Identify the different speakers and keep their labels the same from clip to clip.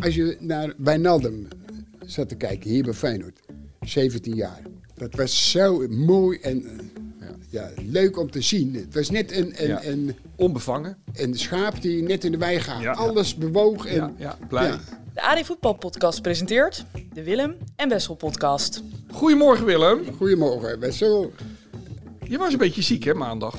Speaker 1: als je naar Wijnaldum zat te kijken, hier bij Feyenoord, 17 jaar. Dat was zo mooi en eh, ja, leuk om te zien. Het was net een, een,
Speaker 2: Ja.
Speaker 1: een,
Speaker 2: Onbevangen.
Speaker 1: een schaap die net in de wei gaat.
Speaker 2: Ja.
Speaker 1: Alles bewoog. En,
Speaker 2: Ja, ja, blij.
Speaker 3: De AD Voetbal Podcast presenteert de Willem en Wessel Podcast.
Speaker 2: Goedemorgen Willem.
Speaker 1: Goedemorgen, Wessel.
Speaker 2: Je was een beetje ziek hè, maandag.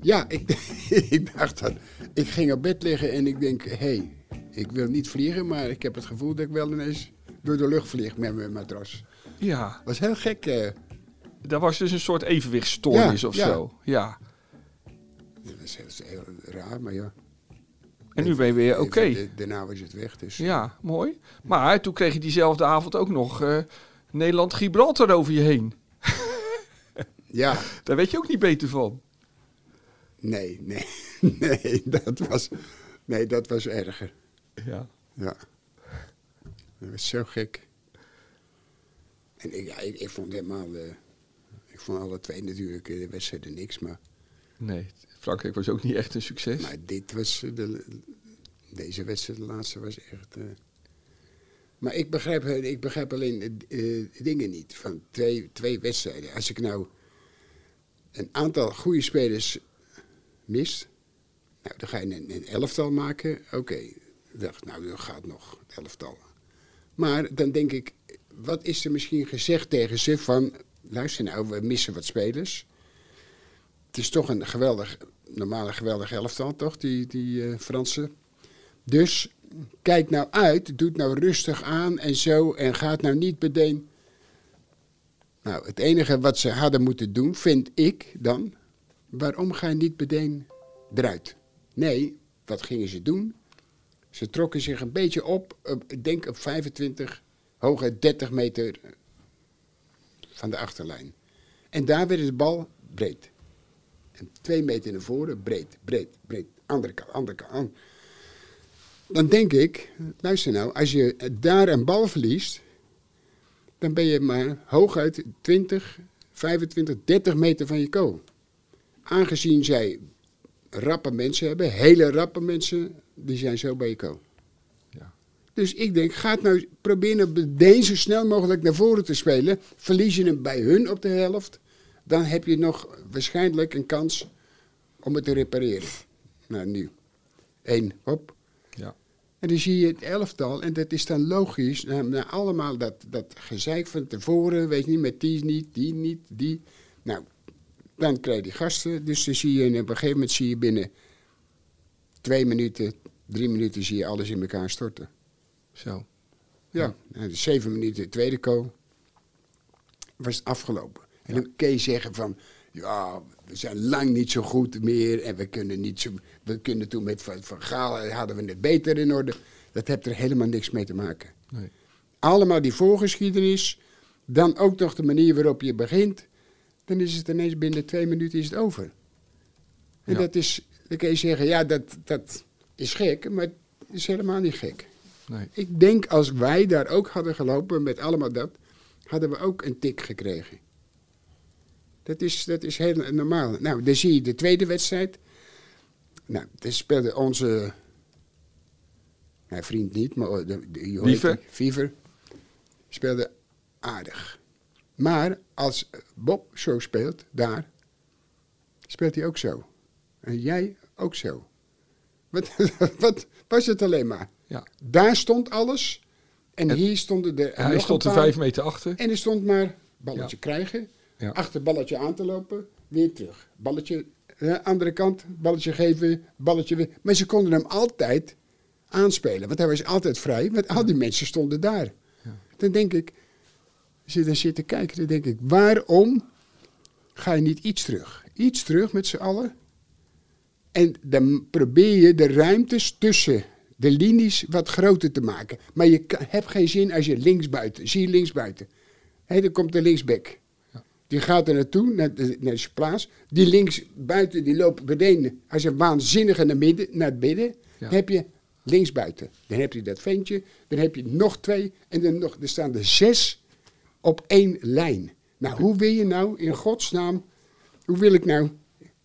Speaker 1: Ja, ik, ik dacht dat. Ik ging op bed liggen en ik denk, hé, hey, ik wil niet vliegen, maar ik heb het gevoel dat ik wel ineens door de lucht vlieg met mijn matras.
Speaker 2: Ja,
Speaker 1: was heel gek. eh.
Speaker 2: daar was dus een soort evenwichtstoornis
Speaker 1: Ja,
Speaker 2: of
Speaker 1: ja.
Speaker 2: zo. Ja.
Speaker 1: dat is heel, heel raar, maar ja.
Speaker 2: En nu ben je weer oké.
Speaker 1: Da- Daarna was het weg, dus.
Speaker 2: Ja, mooi. Maar toen kreeg je diezelfde avond ook nog eh, Nederland-Gibraltar over je heen.
Speaker 1: Ja,
Speaker 2: Daar weet je ook niet beter van.
Speaker 1: nee, nee. Nee, dat was, nee, dat was erger.
Speaker 2: Ja.
Speaker 1: Ja. Dat was zo gek. En ik, ja, ik, ik vond helemaal... eh, ik vond alle twee natuurlijk eh, de wedstrijden niks, maar...
Speaker 2: Nee, Frankrijk was ook niet echt een succes.
Speaker 1: Maar dit was eh, de, deze wedstrijd, de laatste was echt. eh. maar ik begrijp, eh, ik begrijp alleen eh, eh, dingen niet van twee, twee wedstrijden. Als ik nou een aantal goede spelers mis, nou, dan ga je een, een elftal maken. Oké, Ik dacht, nou dat gaat nog, elftal. Maar dan denk ik, wat is er misschien gezegd tegen ze van, luister nou, we missen wat spelers. Het is toch een geweldig, normale geweldig elftal, toch? Die, die eh, Fransen. Dus kijk nou uit, doet nou rustig aan en zo. En gaat nou niet meteen. Nou, het enige wat ze hadden moeten doen, vind ik dan. Waarom ga je niet meteen eruit? Nee, wat gingen ze doen? Ze trokken zich een beetje op, op- ik denk op 25, hoger 30 meter van de achterlijn. En daar werd de bal breed. En twee meter naar voren, breed, breed, breed. Andere kant, andere kant. an- Dan denk ik, luister nou, als je daar een bal verliest, dan ben je maar hooguit 20, 25, 30 meter van je kool. Aangezien zij rappe mensen hebben, hele rappe mensen, die zijn zo bij je kool.
Speaker 2: Ja.
Speaker 1: Dus ik denk, ga het nou proberen op deze zo snel mogelijk naar voren te spelen. Verlies je hem bij hun op de helft, dan heb je nog waarschijnlijk een kans om het te repareren. Nou, nu. Eén, hop.
Speaker 2: ja.
Speaker 1: En dan zie je het elftal, en dat is dan logisch, na, na allemaal dat, dat gezeik van tevoren, weet je niet, met die niet, die niet, die. Nou, dan krijg je die gasten, dus dan zie je, en op een gegeven moment zie je binnen twee minuten, drie minuten, zie je alles in elkaar storten.
Speaker 2: Zo.
Speaker 1: Ja, en Eh, de zeven minuten de tweede kool was het afgelopen. En dan kun je zeggen van, ja, we zijn lang niet zo goed meer en we kunnen niet zo... We kunnen toen met Van, van Gaal, hadden we het beter in orde. Dat heeft er helemaal niks mee te maken.
Speaker 2: Nee.
Speaker 1: Allemaal die voorgeschiedenis, dan ook nog de manier waarop je begint. Dan is het ineens binnen twee minuten is het over. En
Speaker 2: Ja.
Speaker 1: dat is, dan kun je zeggen, ja, dat, dat is gek, maar het is helemaal niet gek.
Speaker 2: Nee.
Speaker 1: Ik denk als wij daar ook hadden gelopen met allemaal dat, hadden we ook een tik gekregen. Dat is, dat is heel normaal. Nou, dan zie je de tweede wedstrijd. Nou, daar speelde onze. Mijn vriend niet, maar. oh, De, de, hoe heet
Speaker 2: Wiever.
Speaker 1: die? Wiever Speelde aardig. Maar als Bob zo speelt, daar. speelt hij ook zo. En jij ook zo. Wat, wat was het alleen maar?
Speaker 2: Ja.
Speaker 1: Daar stond alles. En,
Speaker 2: En-
Speaker 1: hier stonden de. en nog
Speaker 2: Hij
Speaker 1: een
Speaker 2: stond er
Speaker 1: paar.
Speaker 2: vijf meter achter.
Speaker 1: En er stond maar balletje
Speaker 2: Ja.
Speaker 1: krijgen,
Speaker 2: Ja.
Speaker 1: achter balletje aan te lopen, weer terug. Balletje, eh, andere kant, balletje geven, balletje weer. Maar ze konden hem altijd aanspelen, want hij was altijd vrij, want al die mensen stonden daar. Dan denk ik, als je daar zit te kijken, dan denk ik, waarom ga je niet iets terug? Iets terug met z'n allen. En dan probeer je de ruimtes tussen de linies wat groter te maken. Maar je ka- hebt geen zin als je linksbuiten, zie je linksbuiten. Hé, dan komt de linksback. Die gaat er naartoe, naar, de- naar zijn plaats. Die linksbuiten, die loopt beneden als een waanzinnige naar, midden, naar het midden. Dan heb je linksbuiten. Dan heb je dat ventje, dan heb je nog twee. En dan nog, er staan er zes op één lijn. Nou, hoe wil je nou in godsnaam, hoe wil ik nou,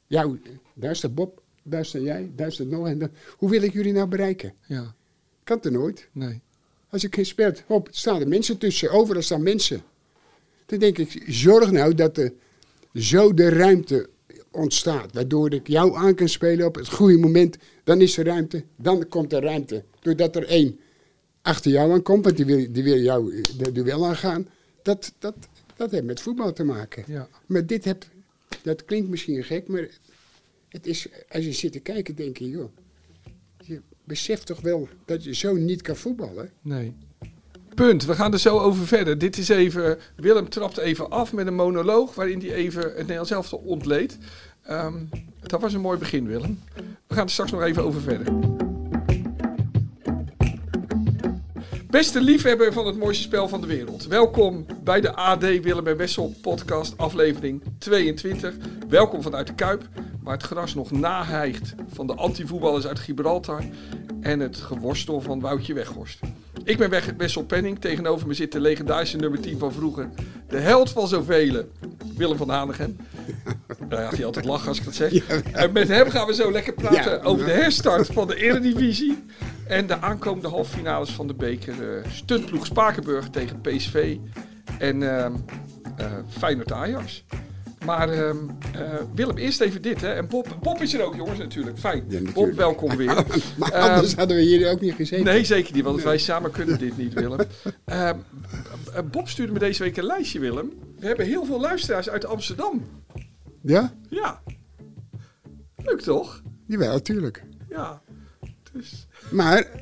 Speaker 1: jou, daar staat Bob, daar sta jij, daar staat nog en dan, hoe wil ik jullie nou bereiken?
Speaker 2: Ja.
Speaker 1: Kan er nooit.
Speaker 2: Nee.
Speaker 1: Als ik geen spelt, hop, staan er mensen tussen. Overal staan mensen. Dan denk ik, zorg nou dat er zo de ruimte ontstaat. Waardoor ik jou aan kan spelen op het goede moment. Dan is er ruimte. Dan komt er ruimte. Doordat er één achter jou aan komt. Want die wil, die wil jou eh, de duel aangaan. Dat, dat, dat heeft met voetbal te maken.
Speaker 2: Ja.
Speaker 1: Maar dit heb, dat klinkt misschien gek, maar het is, als je zit te kijken, denk je, joh, je beseft toch wel dat je zo niet kan voetballen?
Speaker 2: Nee. Punt. We gaan er zo over verder. Dit is even. Willem trapt even af met een monoloog. waarin hij even het Nederlands elftal ontleed. Ehm, dat was een mooi begin, Willem. We gaan er straks nog even over verder. Beste liefhebber van het mooiste spel van de wereld. Welkom bij de AD Willem en Wessel podcast aflevering 22. Welkom vanuit de Kuip, waar het gras nog nahijgt van de antivoetballers uit Gibraltar en het geworstel van Woutje Weghorst. Ik ben Weg- Wessel Penning, tegenover me zit de legendarische nummer 10 van vroeger. De held van zoveel, Willem van Hanegem. Nou ja, die altijd lachen als ik dat zeg. En met hem gaan we zo lekker praten
Speaker 1: Ja.
Speaker 2: over de herstart van de Eredivisie. En de aankomende halve finales van de beker. eh stuntploeg Spakenburg tegen PSV. En ehm eh, Feyenoord Ajax. Maar ehm, eh, Willem, eerst even dit. Hè. En Bob, Bob is er ook, jongens, natuurlijk. Fijn.
Speaker 1: Ja, natuurlijk.
Speaker 2: Bob, welkom weer.
Speaker 1: Maar
Speaker 2: Ehm,
Speaker 1: anders hadden we hier ook niet gezeten.
Speaker 2: Nee, zeker niet, want wij samen kunnen dit niet, Willem. Ehm, eh, Bob stuurde me deze week een lijstje, Willem. We hebben heel veel luisteraars uit Amsterdam.
Speaker 1: Ja?
Speaker 2: Ja. Leuk toch?
Speaker 1: Jawel, natuurlijk.
Speaker 2: Ja. Dus,
Speaker 1: Maar eh,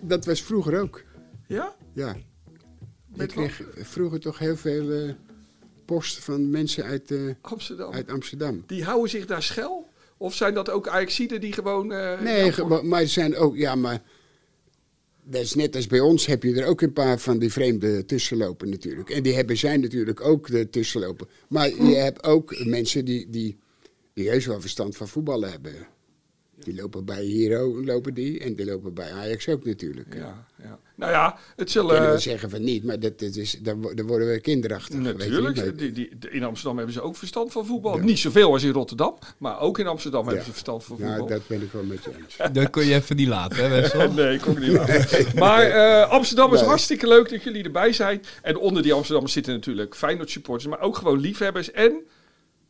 Speaker 1: dat was vroeger ook.
Speaker 2: ja?
Speaker 1: Ja. Ik
Speaker 2: Met wat?
Speaker 1: kreeg vroeger toch heel veel eh, post van mensen uit, eh,
Speaker 2: Amsterdam.
Speaker 1: uit Amsterdam.
Speaker 2: Die houden zich daar schel? Of zijn dat ook Ajaxiden die gewoon... eh,
Speaker 1: Nee,
Speaker 2: ja,
Speaker 1: ge- maar- maar er zijn ook, ja, maar. Dat is net als bij ons, heb je er ook een paar van die vreemden tussenlopen natuurlijk. En die hebben zij natuurlijk ook er tussenlopen. Maar je hebt ook mensen die, die, die heus wel verstand van voetballen hebben. Die lopen bij Hero, lopen die. En die lopen bij Ajax ook natuurlijk. Ik
Speaker 2: Ja, ja. Nou ja, het
Speaker 1: kan
Speaker 2: zullen...
Speaker 1: wel zeggen van niet, maar dat, dat is, daar, wo- daar worden we kinderachtig. weet je
Speaker 2: Natuurlijk,
Speaker 1: niet. Maar-
Speaker 2: die, die, de- in Amsterdam hebben ze ook verstand van voetbal. Niet zoveel als in Rotterdam, maar ook in Amsterdam hebben ze verstand van voetbal.
Speaker 1: Ja, dat ben ik wel met je eens.
Speaker 4: Dat kun je even niet laten, hè, Wessel?
Speaker 2: Nee, ik kom niet aan. Maar eh, Amsterdam is
Speaker 1: Nee.
Speaker 2: hartstikke leuk dat jullie erbij zijn. En onder die Amsterdammers zitten natuurlijk Feyenoord supporters, maar ook gewoon liefhebbers en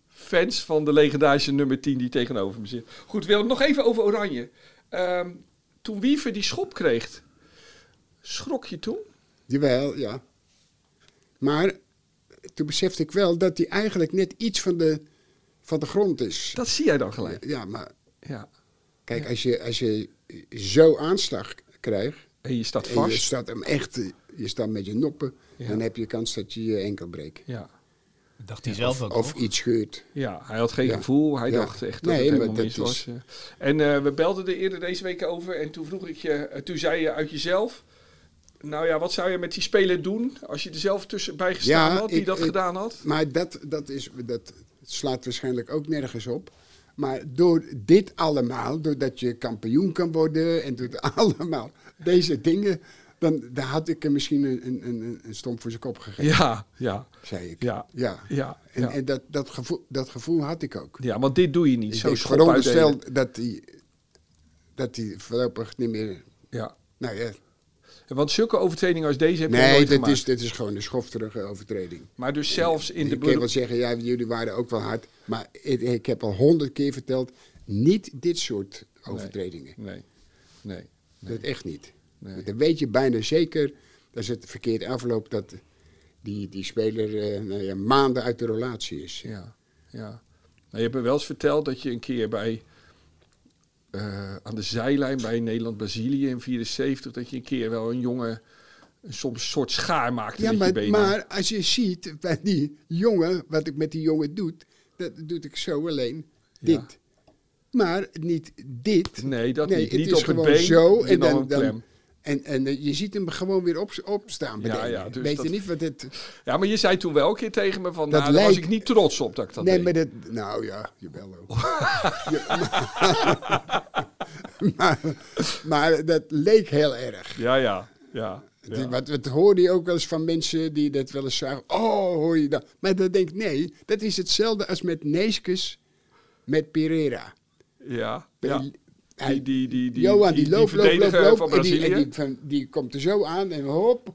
Speaker 2: fans van de legendarische nummer 10 die tegenover me zit. Goed, Willem, nog even over Oranje. Ehm, toen Wiever die schop kreeg, schrok je toen?
Speaker 1: Jawel, ja. Maar toen besefte ik wel dat hij eigenlijk net iets van de, van de grond is.
Speaker 2: Dat zie jij dan gelijk.
Speaker 1: Ja, maar
Speaker 2: Ja.
Speaker 1: kijk, als je, als je zo aanslag krijgt...
Speaker 2: En je staat
Speaker 1: en je
Speaker 2: vast.
Speaker 1: staat hem echt... eh, Je staat met je noppen,
Speaker 2: Ja.
Speaker 1: dan heb je kans dat je je enkel breekt.
Speaker 2: Ja.
Speaker 4: Dat dacht hij zelf ook.
Speaker 1: Of
Speaker 4: hoor.
Speaker 1: iets scheurt.
Speaker 2: Ja, hij had geen
Speaker 1: Ja.
Speaker 2: gevoel. Hij
Speaker 1: Ja.
Speaker 2: dacht echt dat
Speaker 1: Nee,
Speaker 2: het
Speaker 1: maar
Speaker 2: helemaal
Speaker 1: dat
Speaker 2: mis
Speaker 1: is-
Speaker 2: was. ja. En eh, we belden er eerder deze week over. En toen vroeg ik je, eh, toen zei je uit jezelf... Nou ja, wat zou je met die speler doen als je er zelf tussenbij gestaan
Speaker 1: Ja,
Speaker 2: had, die
Speaker 1: ik-
Speaker 2: dat
Speaker 1: ik-
Speaker 2: gedaan had?
Speaker 1: Maar dat, dat, is, dat slaat waarschijnlijk ook nergens op. Maar door dit allemaal, doordat je kampioen kan worden en door allemaal deze dingen, dan, dan had ik hem misschien een, een, een, een stomp voor zijn kop gegeven,
Speaker 2: Ja, ja,
Speaker 1: zei ik.
Speaker 2: ja,
Speaker 1: ja.
Speaker 2: ja,
Speaker 1: En,
Speaker 2: ja.
Speaker 1: en dat, dat, gevoel, dat gevoel had ik ook.
Speaker 2: ja, want dit doe je niet. Zo
Speaker 1: ik
Speaker 2: schop uitdelen.
Speaker 1: veronderstel dat hij dat hij voorlopig niet meer.
Speaker 2: Ja.
Speaker 1: Nou ja,
Speaker 2: Want zulke overtredingen als deze heb je
Speaker 1: nee,
Speaker 2: nooit
Speaker 1: dit
Speaker 2: gemaakt.
Speaker 1: is, dit is gewoon een schofterige overtreding.
Speaker 2: Maar dus zelfs in
Speaker 1: ik
Speaker 2: de...
Speaker 1: kan wel
Speaker 2: burger-
Speaker 1: zeggen, ja, jullie waren ook wel hard. Maar ik, ik heb al honderd keer verteld, niet dit soort overtredingen.
Speaker 2: Nee, nee.
Speaker 1: Dat echt niet.
Speaker 2: Nee.
Speaker 1: Want Dan weet je bijna zeker, als het verkeerd afloopt, dat die, die speler eh, nou ja, maanden uit de relatie is.
Speaker 2: Ja, ja. Nou, je hebt me wel eens verteld dat je een keer bij eh, aan de zijlijn bij Nederland-Brazilië in 74 dat je een keer wel een jongen een soms soort schaar maakte
Speaker 1: Ja,
Speaker 2: met je
Speaker 1: maar,
Speaker 2: benen.
Speaker 1: maar als je ziet bij die jongen, wat ik met die jongen doe, dat doe ik zo alleen.
Speaker 2: Ja.
Speaker 1: Dit. Maar niet dit.
Speaker 2: Nee, dat niet.
Speaker 1: het
Speaker 2: Niet
Speaker 1: is
Speaker 2: op het
Speaker 1: gewoon
Speaker 2: been,
Speaker 1: Zo,
Speaker 2: je
Speaker 1: en
Speaker 2: nam
Speaker 1: dan,
Speaker 2: een
Speaker 1: dan,
Speaker 2: klem.
Speaker 1: en, en eh, je ziet hem gewoon weer op, opstaan. Bij
Speaker 2: Ja,
Speaker 1: de-
Speaker 2: ja, dus
Speaker 1: Weet
Speaker 2: dat-
Speaker 1: je niet wat dit.
Speaker 2: Ja, maar je zei toen wel een keer tegen me van,
Speaker 1: Dat
Speaker 2: nou, daar was
Speaker 1: lijkt-
Speaker 2: ik niet trots op dat ik dat
Speaker 1: nee,
Speaker 2: deed.
Speaker 1: maar dat. Nou ja, jawel ook. Ja, maar, maar, maar dat leek heel erg.
Speaker 2: Ja, ja, ja.
Speaker 1: Het-
Speaker 2: ja.
Speaker 1: Wat, wat hoorde je ook wel eens van mensen die dat wel eens zagen. Oh, hoor je dat? Maar dan denk ik, nee, dat is hetzelfde als met Neeskes met Pereira.
Speaker 2: ja,
Speaker 1: Bij-
Speaker 2: ja. Die, die, die, die,
Speaker 1: Johan die, loopt, loopt, loopt,
Speaker 2: verdediger
Speaker 1: loopt.
Speaker 2: van
Speaker 1: en die,
Speaker 2: Brazilië.
Speaker 1: en die, van- die komt er zo aan en hop.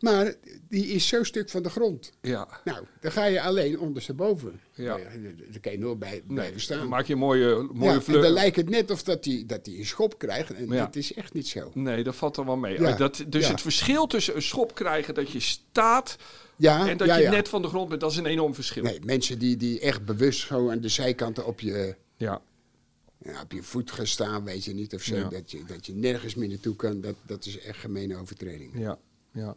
Speaker 1: Maar die is zo stuk van de grond.
Speaker 2: ja,
Speaker 1: Nou, dan ga je alleen ondersteboven.
Speaker 2: Ja.
Speaker 1: Nou Dan kan je nooit bij,
Speaker 2: nee,
Speaker 1: blijven staan.
Speaker 2: dan maak je een mooie, mooie
Speaker 1: ja, en
Speaker 2: vleur.
Speaker 1: dan lijkt het net of dat hij dat die een schop krijgt. En
Speaker 2: Ja.
Speaker 1: dat is echt niet zo.
Speaker 2: Nee, dat valt er wel mee.
Speaker 1: Ja,
Speaker 2: Dat, dus
Speaker 1: ja.
Speaker 2: het verschil tussen een schop krijgen dat je staat
Speaker 1: Ja,
Speaker 2: en dat
Speaker 1: ja,
Speaker 2: je
Speaker 1: ja.
Speaker 2: net van de grond bent, dat is een enorm verschil.
Speaker 1: Nee, mensen die, die echt bewust gewoon aan de zijkanten op je,
Speaker 2: Ja,
Speaker 1: ja, op je voet gaan staan, weet je niet of zo.
Speaker 2: Ja.
Speaker 1: Dat, je, dat je nergens meer naartoe kan, dat, dat is echt gemene overtreding.
Speaker 2: ja, ja.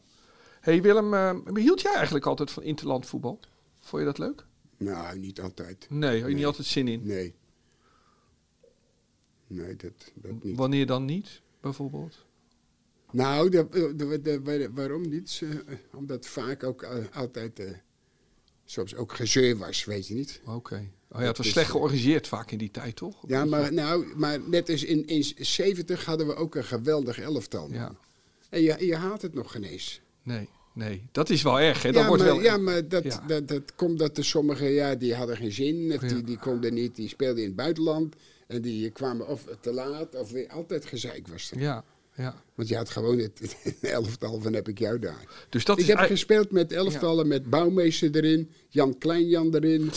Speaker 2: hey Willem, eh, hield jij eigenlijk altijd van interland voetbal? Vond je dat leuk?
Speaker 1: Nou, niet altijd.
Speaker 2: Nee, had je niet
Speaker 1: Nee.
Speaker 2: altijd zin in.
Speaker 1: Nee. Nee, dat, dat niet.
Speaker 2: Wanneer dan niet, bijvoorbeeld?
Speaker 1: Nou, dat- dat- dat- waar- waarom niet? Eh, Omdat vaak ook eh, altijd eh, soms ook gezeur was, weet je niet.
Speaker 2: Oké. Oh ja, het
Speaker 1: Dat
Speaker 2: was
Speaker 1: is,
Speaker 2: slecht
Speaker 1: eh,
Speaker 2: georganiseerd vaak in die tijd, toch?
Speaker 1: Ja, maar, nou, maar net als in, in 70 hadden we ook een geweldig elftal.
Speaker 2: Ja.
Speaker 1: En je, je haat het nog geen eens.
Speaker 2: Nee, nee. Dat is wel erg, hè? Dat wordt
Speaker 1: maar,
Speaker 2: wel...
Speaker 1: ja, maar dat,
Speaker 2: Ja.
Speaker 1: Dat, dat komt dat er sommigen, ja, die hadden geen zin, of
Speaker 2: Ja.
Speaker 1: die, die konden niet, die speelden in het buitenland. En die kwamen of te laat, of weer altijd gezeik was er.
Speaker 2: ja, ja.
Speaker 1: Want je had gewoon het elftal van heb ik jou daar.
Speaker 2: Dus dat
Speaker 1: ik
Speaker 2: is
Speaker 1: heb
Speaker 2: eigenlijk-
Speaker 1: gespeeld met elftallen, met Bouwmeester erin, Jan Kleinjan erin.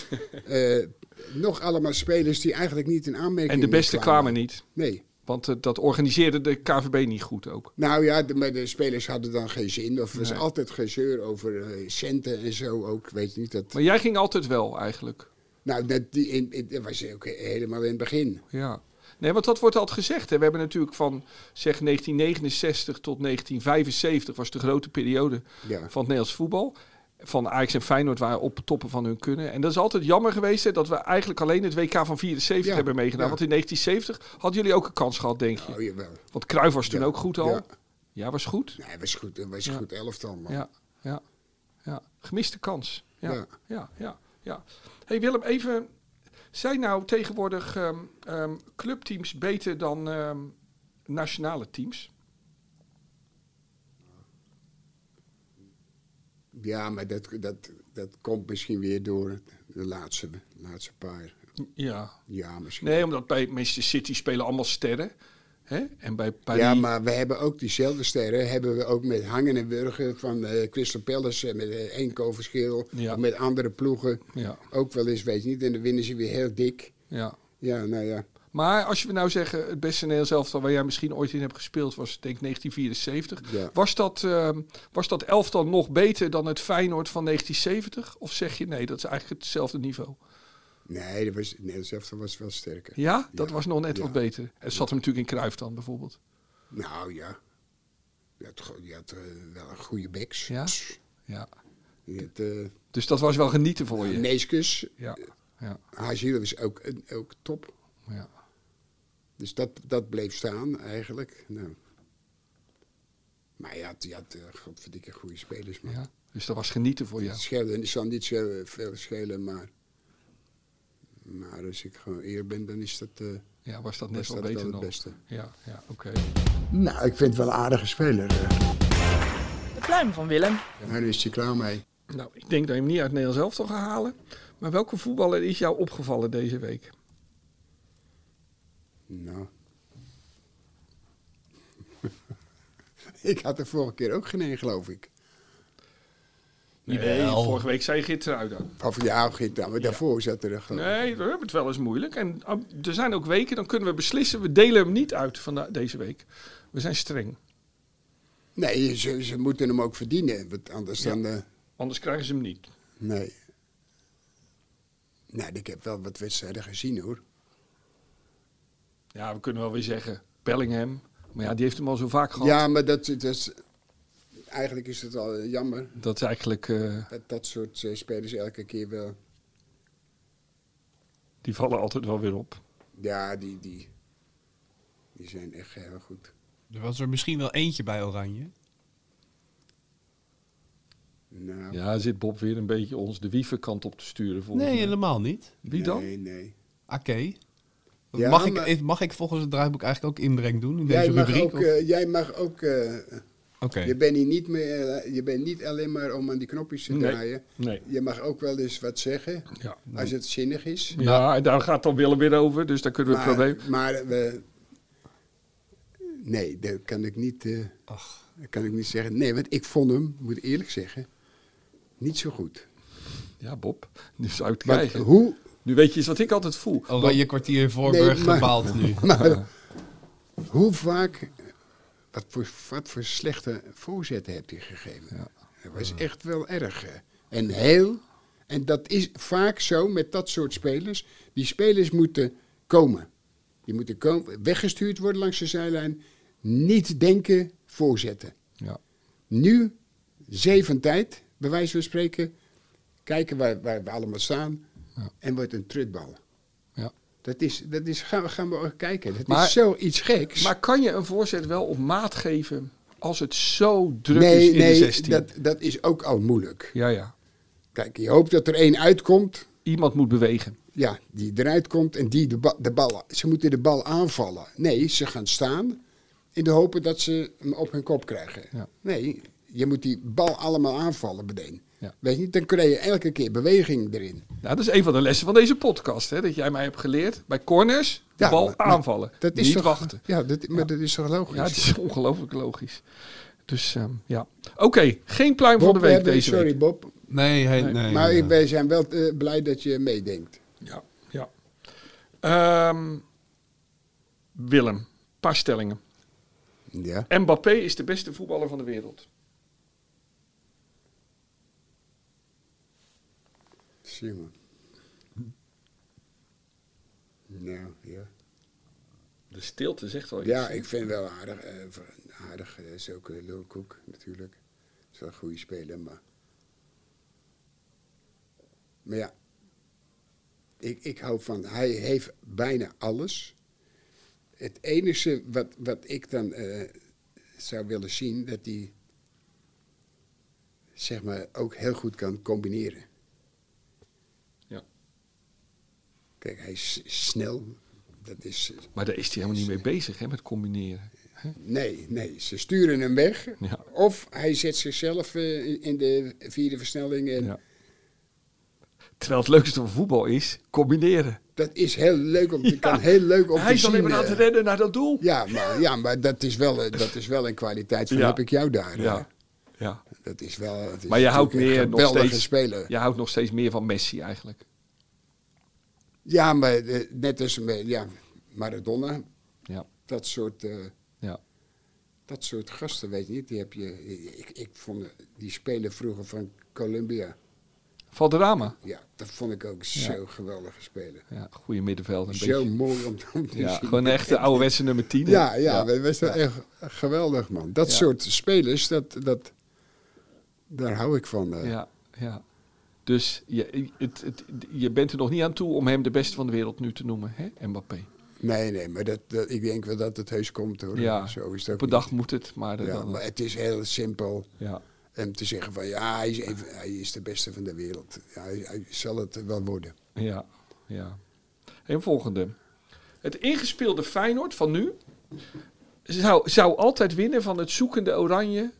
Speaker 1: eh, nog allemaal spelers die eigenlijk niet in aanmerking
Speaker 2: En de beste kwamen niet.
Speaker 1: Nee.
Speaker 2: Want eh, dat organiseerde de KVB niet goed ook.
Speaker 1: Nou ja, de, maar de spelers hadden dan geen zin. Of er was
Speaker 2: Nee.
Speaker 1: altijd gezeur over eh, centen en zo ook. Weet je niet dat...
Speaker 2: Maar jij ging altijd wel, eigenlijk.
Speaker 1: Nou, dat, die, in, in- dat was ook helemaal in het begin.
Speaker 2: Ja. Nee, want dat wordt altijd gezegd. Hè. We hebben natuurlijk van zeg 1969 tot 1975 was de grote periode
Speaker 1: Ja.
Speaker 2: van het Nederlands voetbal. Van Ajax en Feyenoord waren op toppen van hun kunnen. En dat is altijd jammer geweest hè, dat we eigenlijk alleen het WK van 74
Speaker 1: Ja,
Speaker 2: hebben meegedaan.
Speaker 1: ja.
Speaker 2: Want in 1970 hadden jullie ook een kans gehad, denk je.
Speaker 1: Oh, jawel.
Speaker 2: Want Cruijff was toen
Speaker 1: Ja,
Speaker 2: ook goed al. Ja,
Speaker 1: ja.
Speaker 2: was goed.
Speaker 1: Nee, was goed, het was
Speaker 2: Ja.
Speaker 1: goed elftal, man.
Speaker 2: Ja, ja, ja. Gemiste kans. Ja, ja,
Speaker 1: Ja.
Speaker 2: ja. ja, hey Willem, even. Zijn nou tegenwoordig ehm, ehm, clubteams beter dan ehm, nationale teams?
Speaker 1: Ja, maar dat, dat, dat komt misschien weer door het- de laatste, laatste paar.
Speaker 2: Ja.
Speaker 1: Ja, misschien.
Speaker 2: Nee, omdat bij Manchester City spelen allemaal sterren. Hè? En bij Paris...
Speaker 1: Ja, maar we hebben ook diezelfde sterren. Hebben we ook met Hangen en Burger van eh Crystal Palace. en Met eh, één koolverschil.
Speaker 2: Ja.
Speaker 1: Of met andere ploegen.
Speaker 2: Ja,
Speaker 1: Ook wel eens, weet je niet. En dan winnen ze weer heel dik.
Speaker 2: ja.
Speaker 1: Ja, nou ja.
Speaker 2: Maar als we nou zeggen, het beste Nederlands elftal waar jij misschien ooit in hebt gespeeld was, denk ik 1974.
Speaker 1: Ja.
Speaker 2: Was, dat, ehm, was dat elftal nog beter dan het Feyenoord van 1970? Of zeg je nee, dat is eigenlijk hetzelfde niveau?
Speaker 1: Nee, dat was, nee, zelfs was wel sterker.
Speaker 2: Ja, dat was nog net
Speaker 1: ja.
Speaker 2: wat beter. Het zat hem natuurlijk in Cruijff dan bijvoorbeeld.
Speaker 1: Nou ja. Je had, go- je had eh, wel een goede beks.
Speaker 2: Ja? Ja.
Speaker 1: Je had eh,
Speaker 2: Dus dat was wel genieten voor je.
Speaker 1: Neeskens.
Speaker 2: Ja, ja,
Speaker 1: Haziel is ook, een- ook top.
Speaker 2: ja.
Speaker 1: Dus dat, dat bleef staan eigenlijk. Nou. Maar je had, je had eh, godverdikke goede spelers. Man.
Speaker 2: ja. Dus dat was genieten voor
Speaker 1: Het
Speaker 2: jou.
Speaker 1: scheelde, het zal niet zo veel schelen, maar... Maar als ik gewoon eer ben, dan is dat, eh,
Speaker 2: Ja, was dat net
Speaker 1: was
Speaker 2: wel
Speaker 1: dat
Speaker 2: beter
Speaker 1: wel het
Speaker 2: dan.
Speaker 1: beste.
Speaker 2: Ja, ja oké.
Speaker 1: Nou, ik vind het wel een aardige speler. eh.
Speaker 3: De pluim van Willem.
Speaker 1: Nou, daar is hij klaar mee.
Speaker 2: Nou, ik denk dat je hem niet uit Nederland zelf toch gaat halen. Maar welke voetballer is jou opgevallen deze week?
Speaker 1: Nou. ik had de vorige keer ook geen één, geloof ik.
Speaker 4: Jawel.
Speaker 2: vorige week zei Geertruida.
Speaker 1: Of ja, of geen- nou, maar daarvoor zat er echt.
Speaker 2: Nee, we hebben het wel eens moeilijk. En ah, er zijn ook weken, dan kunnen we beslissen. We delen hem niet uit van deze week. We zijn streng.
Speaker 1: Nee, ze, ze moeten hem ook verdienen. Want anders dan. eh,
Speaker 2: Anders krijgen ze hem niet.
Speaker 1: nee. Nou, ik heb wel wat wedstrijden gezien hoor.
Speaker 2: Ja, we kunnen wel weer zeggen Bellingham. Maar ja, die heeft hem al zo vaak gehad.
Speaker 1: Ja, maar dat, dat is. Eigenlijk is het al eh, jammer
Speaker 2: Dat is eigenlijk, eh,
Speaker 1: dat dat soort eh, spelers elke keer wel.
Speaker 2: die vallen altijd wel weer op.
Speaker 1: Ja, die, die, die zijn echt heel goed.
Speaker 4: Er was er misschien wel eentje bij Oranje.
Speaker 1: Nou,
Speaker 2: Ja, zit Bob weer een beetje ons de wievenkant op te sturen volgens
Speaker 4: Nee,
Speaker 2: mij.
Speaker 4: helemaal niet.
Speaker 2: Wie dan?
Speaker 1: Nee, nee.
Speaker 4: Oké.
Speaker 1: Ja,
Speaker 4: mag, ik,
Speaker 1: maar-
Speaker 4: even- mag ik volgens het draaiboek eigenlijk ook inbreng doen in
Speaker 1: Jij
Speaker 4: deze
Speaker 1: mag,
Speaker 4: rubriek?
Speaker 1: ook,
Speaker 4: of-
Speaker 1: eh, jij mag ook. eh,
Speaker 4: Oké.
Speaker 1: Je bent hier niet meer. eh, je bent niet alleen maar om aan die knopjes te
Speaker 2: Nee.
Speaker 1: draaien.
Speaker 2: Nee.
Speaker 1: Je mag ook wel eens wat zeggen.
Speaker 2: Ja.
Speaker 1: Als het zinnig is.
Speaker 2: ja, en daar gaat dan Willem weer over. Dus daar kunnen we het probleem...
Speaker 1: maar we, Nee, dat kan ik niet, eh,
Speaker 4: Ach,
Speaker 1: dat kan ik niet zeggen. Nee, want ik vond hem, moet ik eerlijk zeggen, niet zo goed.
Speaker 2: Ja, Bob, nu zou ik het
Speaker 1: Maar
Speaker 2: krijgen.
Speaker 1: hoe...
Speaker 2: Nu weet je eens Oh, wat ik altijd voel.
Speaker 4: oranje kwartier Voorburg
Speaker 1: Nee, maar-
Speaker 4: gebaald nu.
Speaker 1: Maar hoe vaak, wat voor, wat voor slechte voorzetten heb je gegeven? Dat was echt wel erg. hè. En heel, en dat is vaak zo met dat soort spelers. Die spelers moeten komen. Die moeten komen, weggestuurd worden langs de zijlijn. Niet denken, voorzetten.
Speaker 2: Ja.
Speaker 1: Nu, zeven tijd, bij wijze van spreken. Kijken waar, waar we allemaal staan.
Speaker 2: Ja.
Speaker 1: En wordt een trutbal.
Speaker 2: Ja.
Speaker 1: Dat is, dat is gaan, we, gaan we ook kijken. Dat
Speaker 2: Maar-
Speaker 1: is zoiets geks.
Speaker 2: Maar kan je een voorzet wel op maat geven als het zo druk
Speaker 1: nee,
Speaker 2: is in
Speaker 1: nee,
Speaker 2: de 16?
Speaker 1: Dat, dat is ook al moeilijk.
Speaker 2: Ja, ja.
Speaker 1: Kijk, je hoopt dat er één uitkomt.
Speaker 2: Iemand moet bewegen.
Speaker 1: Ja, die eruit komt en die de, ba- de bal... Ze moeten de bal aanvallen. Nee, ze gaan staan in de hoop dat ze hem op hun kop krijgen.
Speaker 2: Ja.
Speaker 1: Nee, je moet die bal allemaal aanvallen meteen.
Speaker 2: Ja.
Speaker 1: Weet je, dan krijg je elke keer beweging erin.
Speaker 2: Nou, dat is een van de lessen van deze podcast. Hè, dat jij mij hebt geleerd. Bij corners, de
Speaker 1: Ja,
Speaker 2: bal
Speaker 1: maar- maar
Speaker 2: aanvallen.
Speaker 1: Dat is
Speaker 2: niet
Speaker 1: toch,
Speaker 2: wachten.
Speaker 1: Ja, dat, maar dat is toch logisch?
Speaker 2: Ja, het is ongelooflijk logisch. Dus ehm, ja. Oké, geen pluim
Speaker 1: Bob,
Speaker 2: van de
Speaker 1: we
Speaker 2: week
Speaker 1: hebben-
Speaker 2: deze
Speaker 1: sorry
Speaker 2: week.
Speaker 1: Bob,
Speaker 4: Nee, hey, nee.
Speaker 1: maar
Speaker 4: ja.
Speaker 1: ik- wij zijn wel eh, blij dat je meedenkt.
Speaker 2: Ja, ja. Ehm, Willem, een paar stellingen.
Speaker 1: Ja.
Speaker 2: Mbappé is de beste voetballer van de wereld.
Speaker 1: Simon. Nou, ja.
Speaker 2: De stilte zegt wel iets.
Speaker 1: Ja, ik vind wel aardig. eh, voor- aardig eh, is ook uh, Koek natuurlijk. Is wel een goede speler, maar... Maar ja. Ik, ik hou van... Hij heeft bijna alles. Het enige wat, wat ik dan eh, zou willen zien... dat hij... zeg maar ook heel goed kan combineren.
Speaker 2: Ja.
Speaker 1: Kijk, hij is snel. Dat is...
Speaker 2: Maar daar is hij helemaal niet mee bezig, hè, met combineren.
Speaker 1: Nee, nee, ze sturen hem weg.
Speaker 2: Ja.
Speaker 1: Of hij zet zichzelf eh, in de vierde versnelling. En
Speaker 2: Ja. Terwijl het leukste van voetbal is, combineren.
Speaker 1: Dat is heel leuk om, kan heel leuk om
Speaker 2: Hij
Speaker 1: te
Speaker 2: is
Speaker 1: zien.
Speaker 2: alleen maar aan
Speaker 1: eh.
Speaker 2: het rennen naar dat doel.
Speaker 1: ja, maar, ja, maar dat is wel, eh, dat is wel een kwaliteit van
Speaker 2: Ja.
Speaker 1: heb ik jou daar. eh.
Speaker 2: Ja. ja.
Speaker 1: Dat is wel Dus het is
Speaker 2: Maar je houdt
Speaker 1: natuurlijk
Speaker 2: meer
Speaker 1: een
Speaker 2: nog
Speaker 1: geweldige
Speaker 2: steeds,
Speaker 1: speler. Ja,
Speaker 2: je houdt nog steeds meer van Messi eigenlijk.
Speaker 1: maar eh, net als eh, ja, Maradona,
Speaker 2: Ja,
Speaker 1: dat soort... eh,
Speaker 2: ja.
Speaker 1: dat soort gasten, weet je niet, die heb je... Ik, ik vond eh, die spelen vroeger van Columbia.
Speaker 2: Valderrama.
Speaker 1: Ja, dat vond ik ook zo geweldige spelen.
Speaker 2: Ja, goede middenveld. Een
Speaker 1: Zo
Speaker 2: beetje.
Speaker 1: mooi om, om te
Speaker 2: Ja,
Speaker 1: zien.
Speaker 2: gewoon echt de ouderwetse nummer 10. hè?
Speaker 1: Ja, ja, dat was wel echt geweldig, man. Dat
Speaker 2: Ja.
Speaker 1: soort spelers, dat, dat, daar hou ik van. eh.
Speaker 2: Ja, ja. Dus je, het, het, je bent er nog niet aan toe om hem de beste van de wereld nu te noemen, hè? Mbappé.
Speaker 1: Nee, nee, maar dat, dat, ik denk wel Oh, dat het heus komt, hoor.
Speaker 2: Ja,
Speaker 1: Zo is het ook
Speaker 2: Op een
Speaker 1: niet.
Speaker 2: dag moet het, maar... dat-
Speaker 1: Ja,
Speaker 2: dan- eh.
Speaker 1: maar het is heel simpel
Speaker 2: ja.
Speaker 1: om te zeggen van... ja, hij is, even, hij is de beste van de wereld. Ja, hij, hij zal het wel worden.
Speaker 2: Ja, ja. En volgende. Het ingespeelde Feyenoord van nu zou, zou altijd winnen van het zoekende Oranje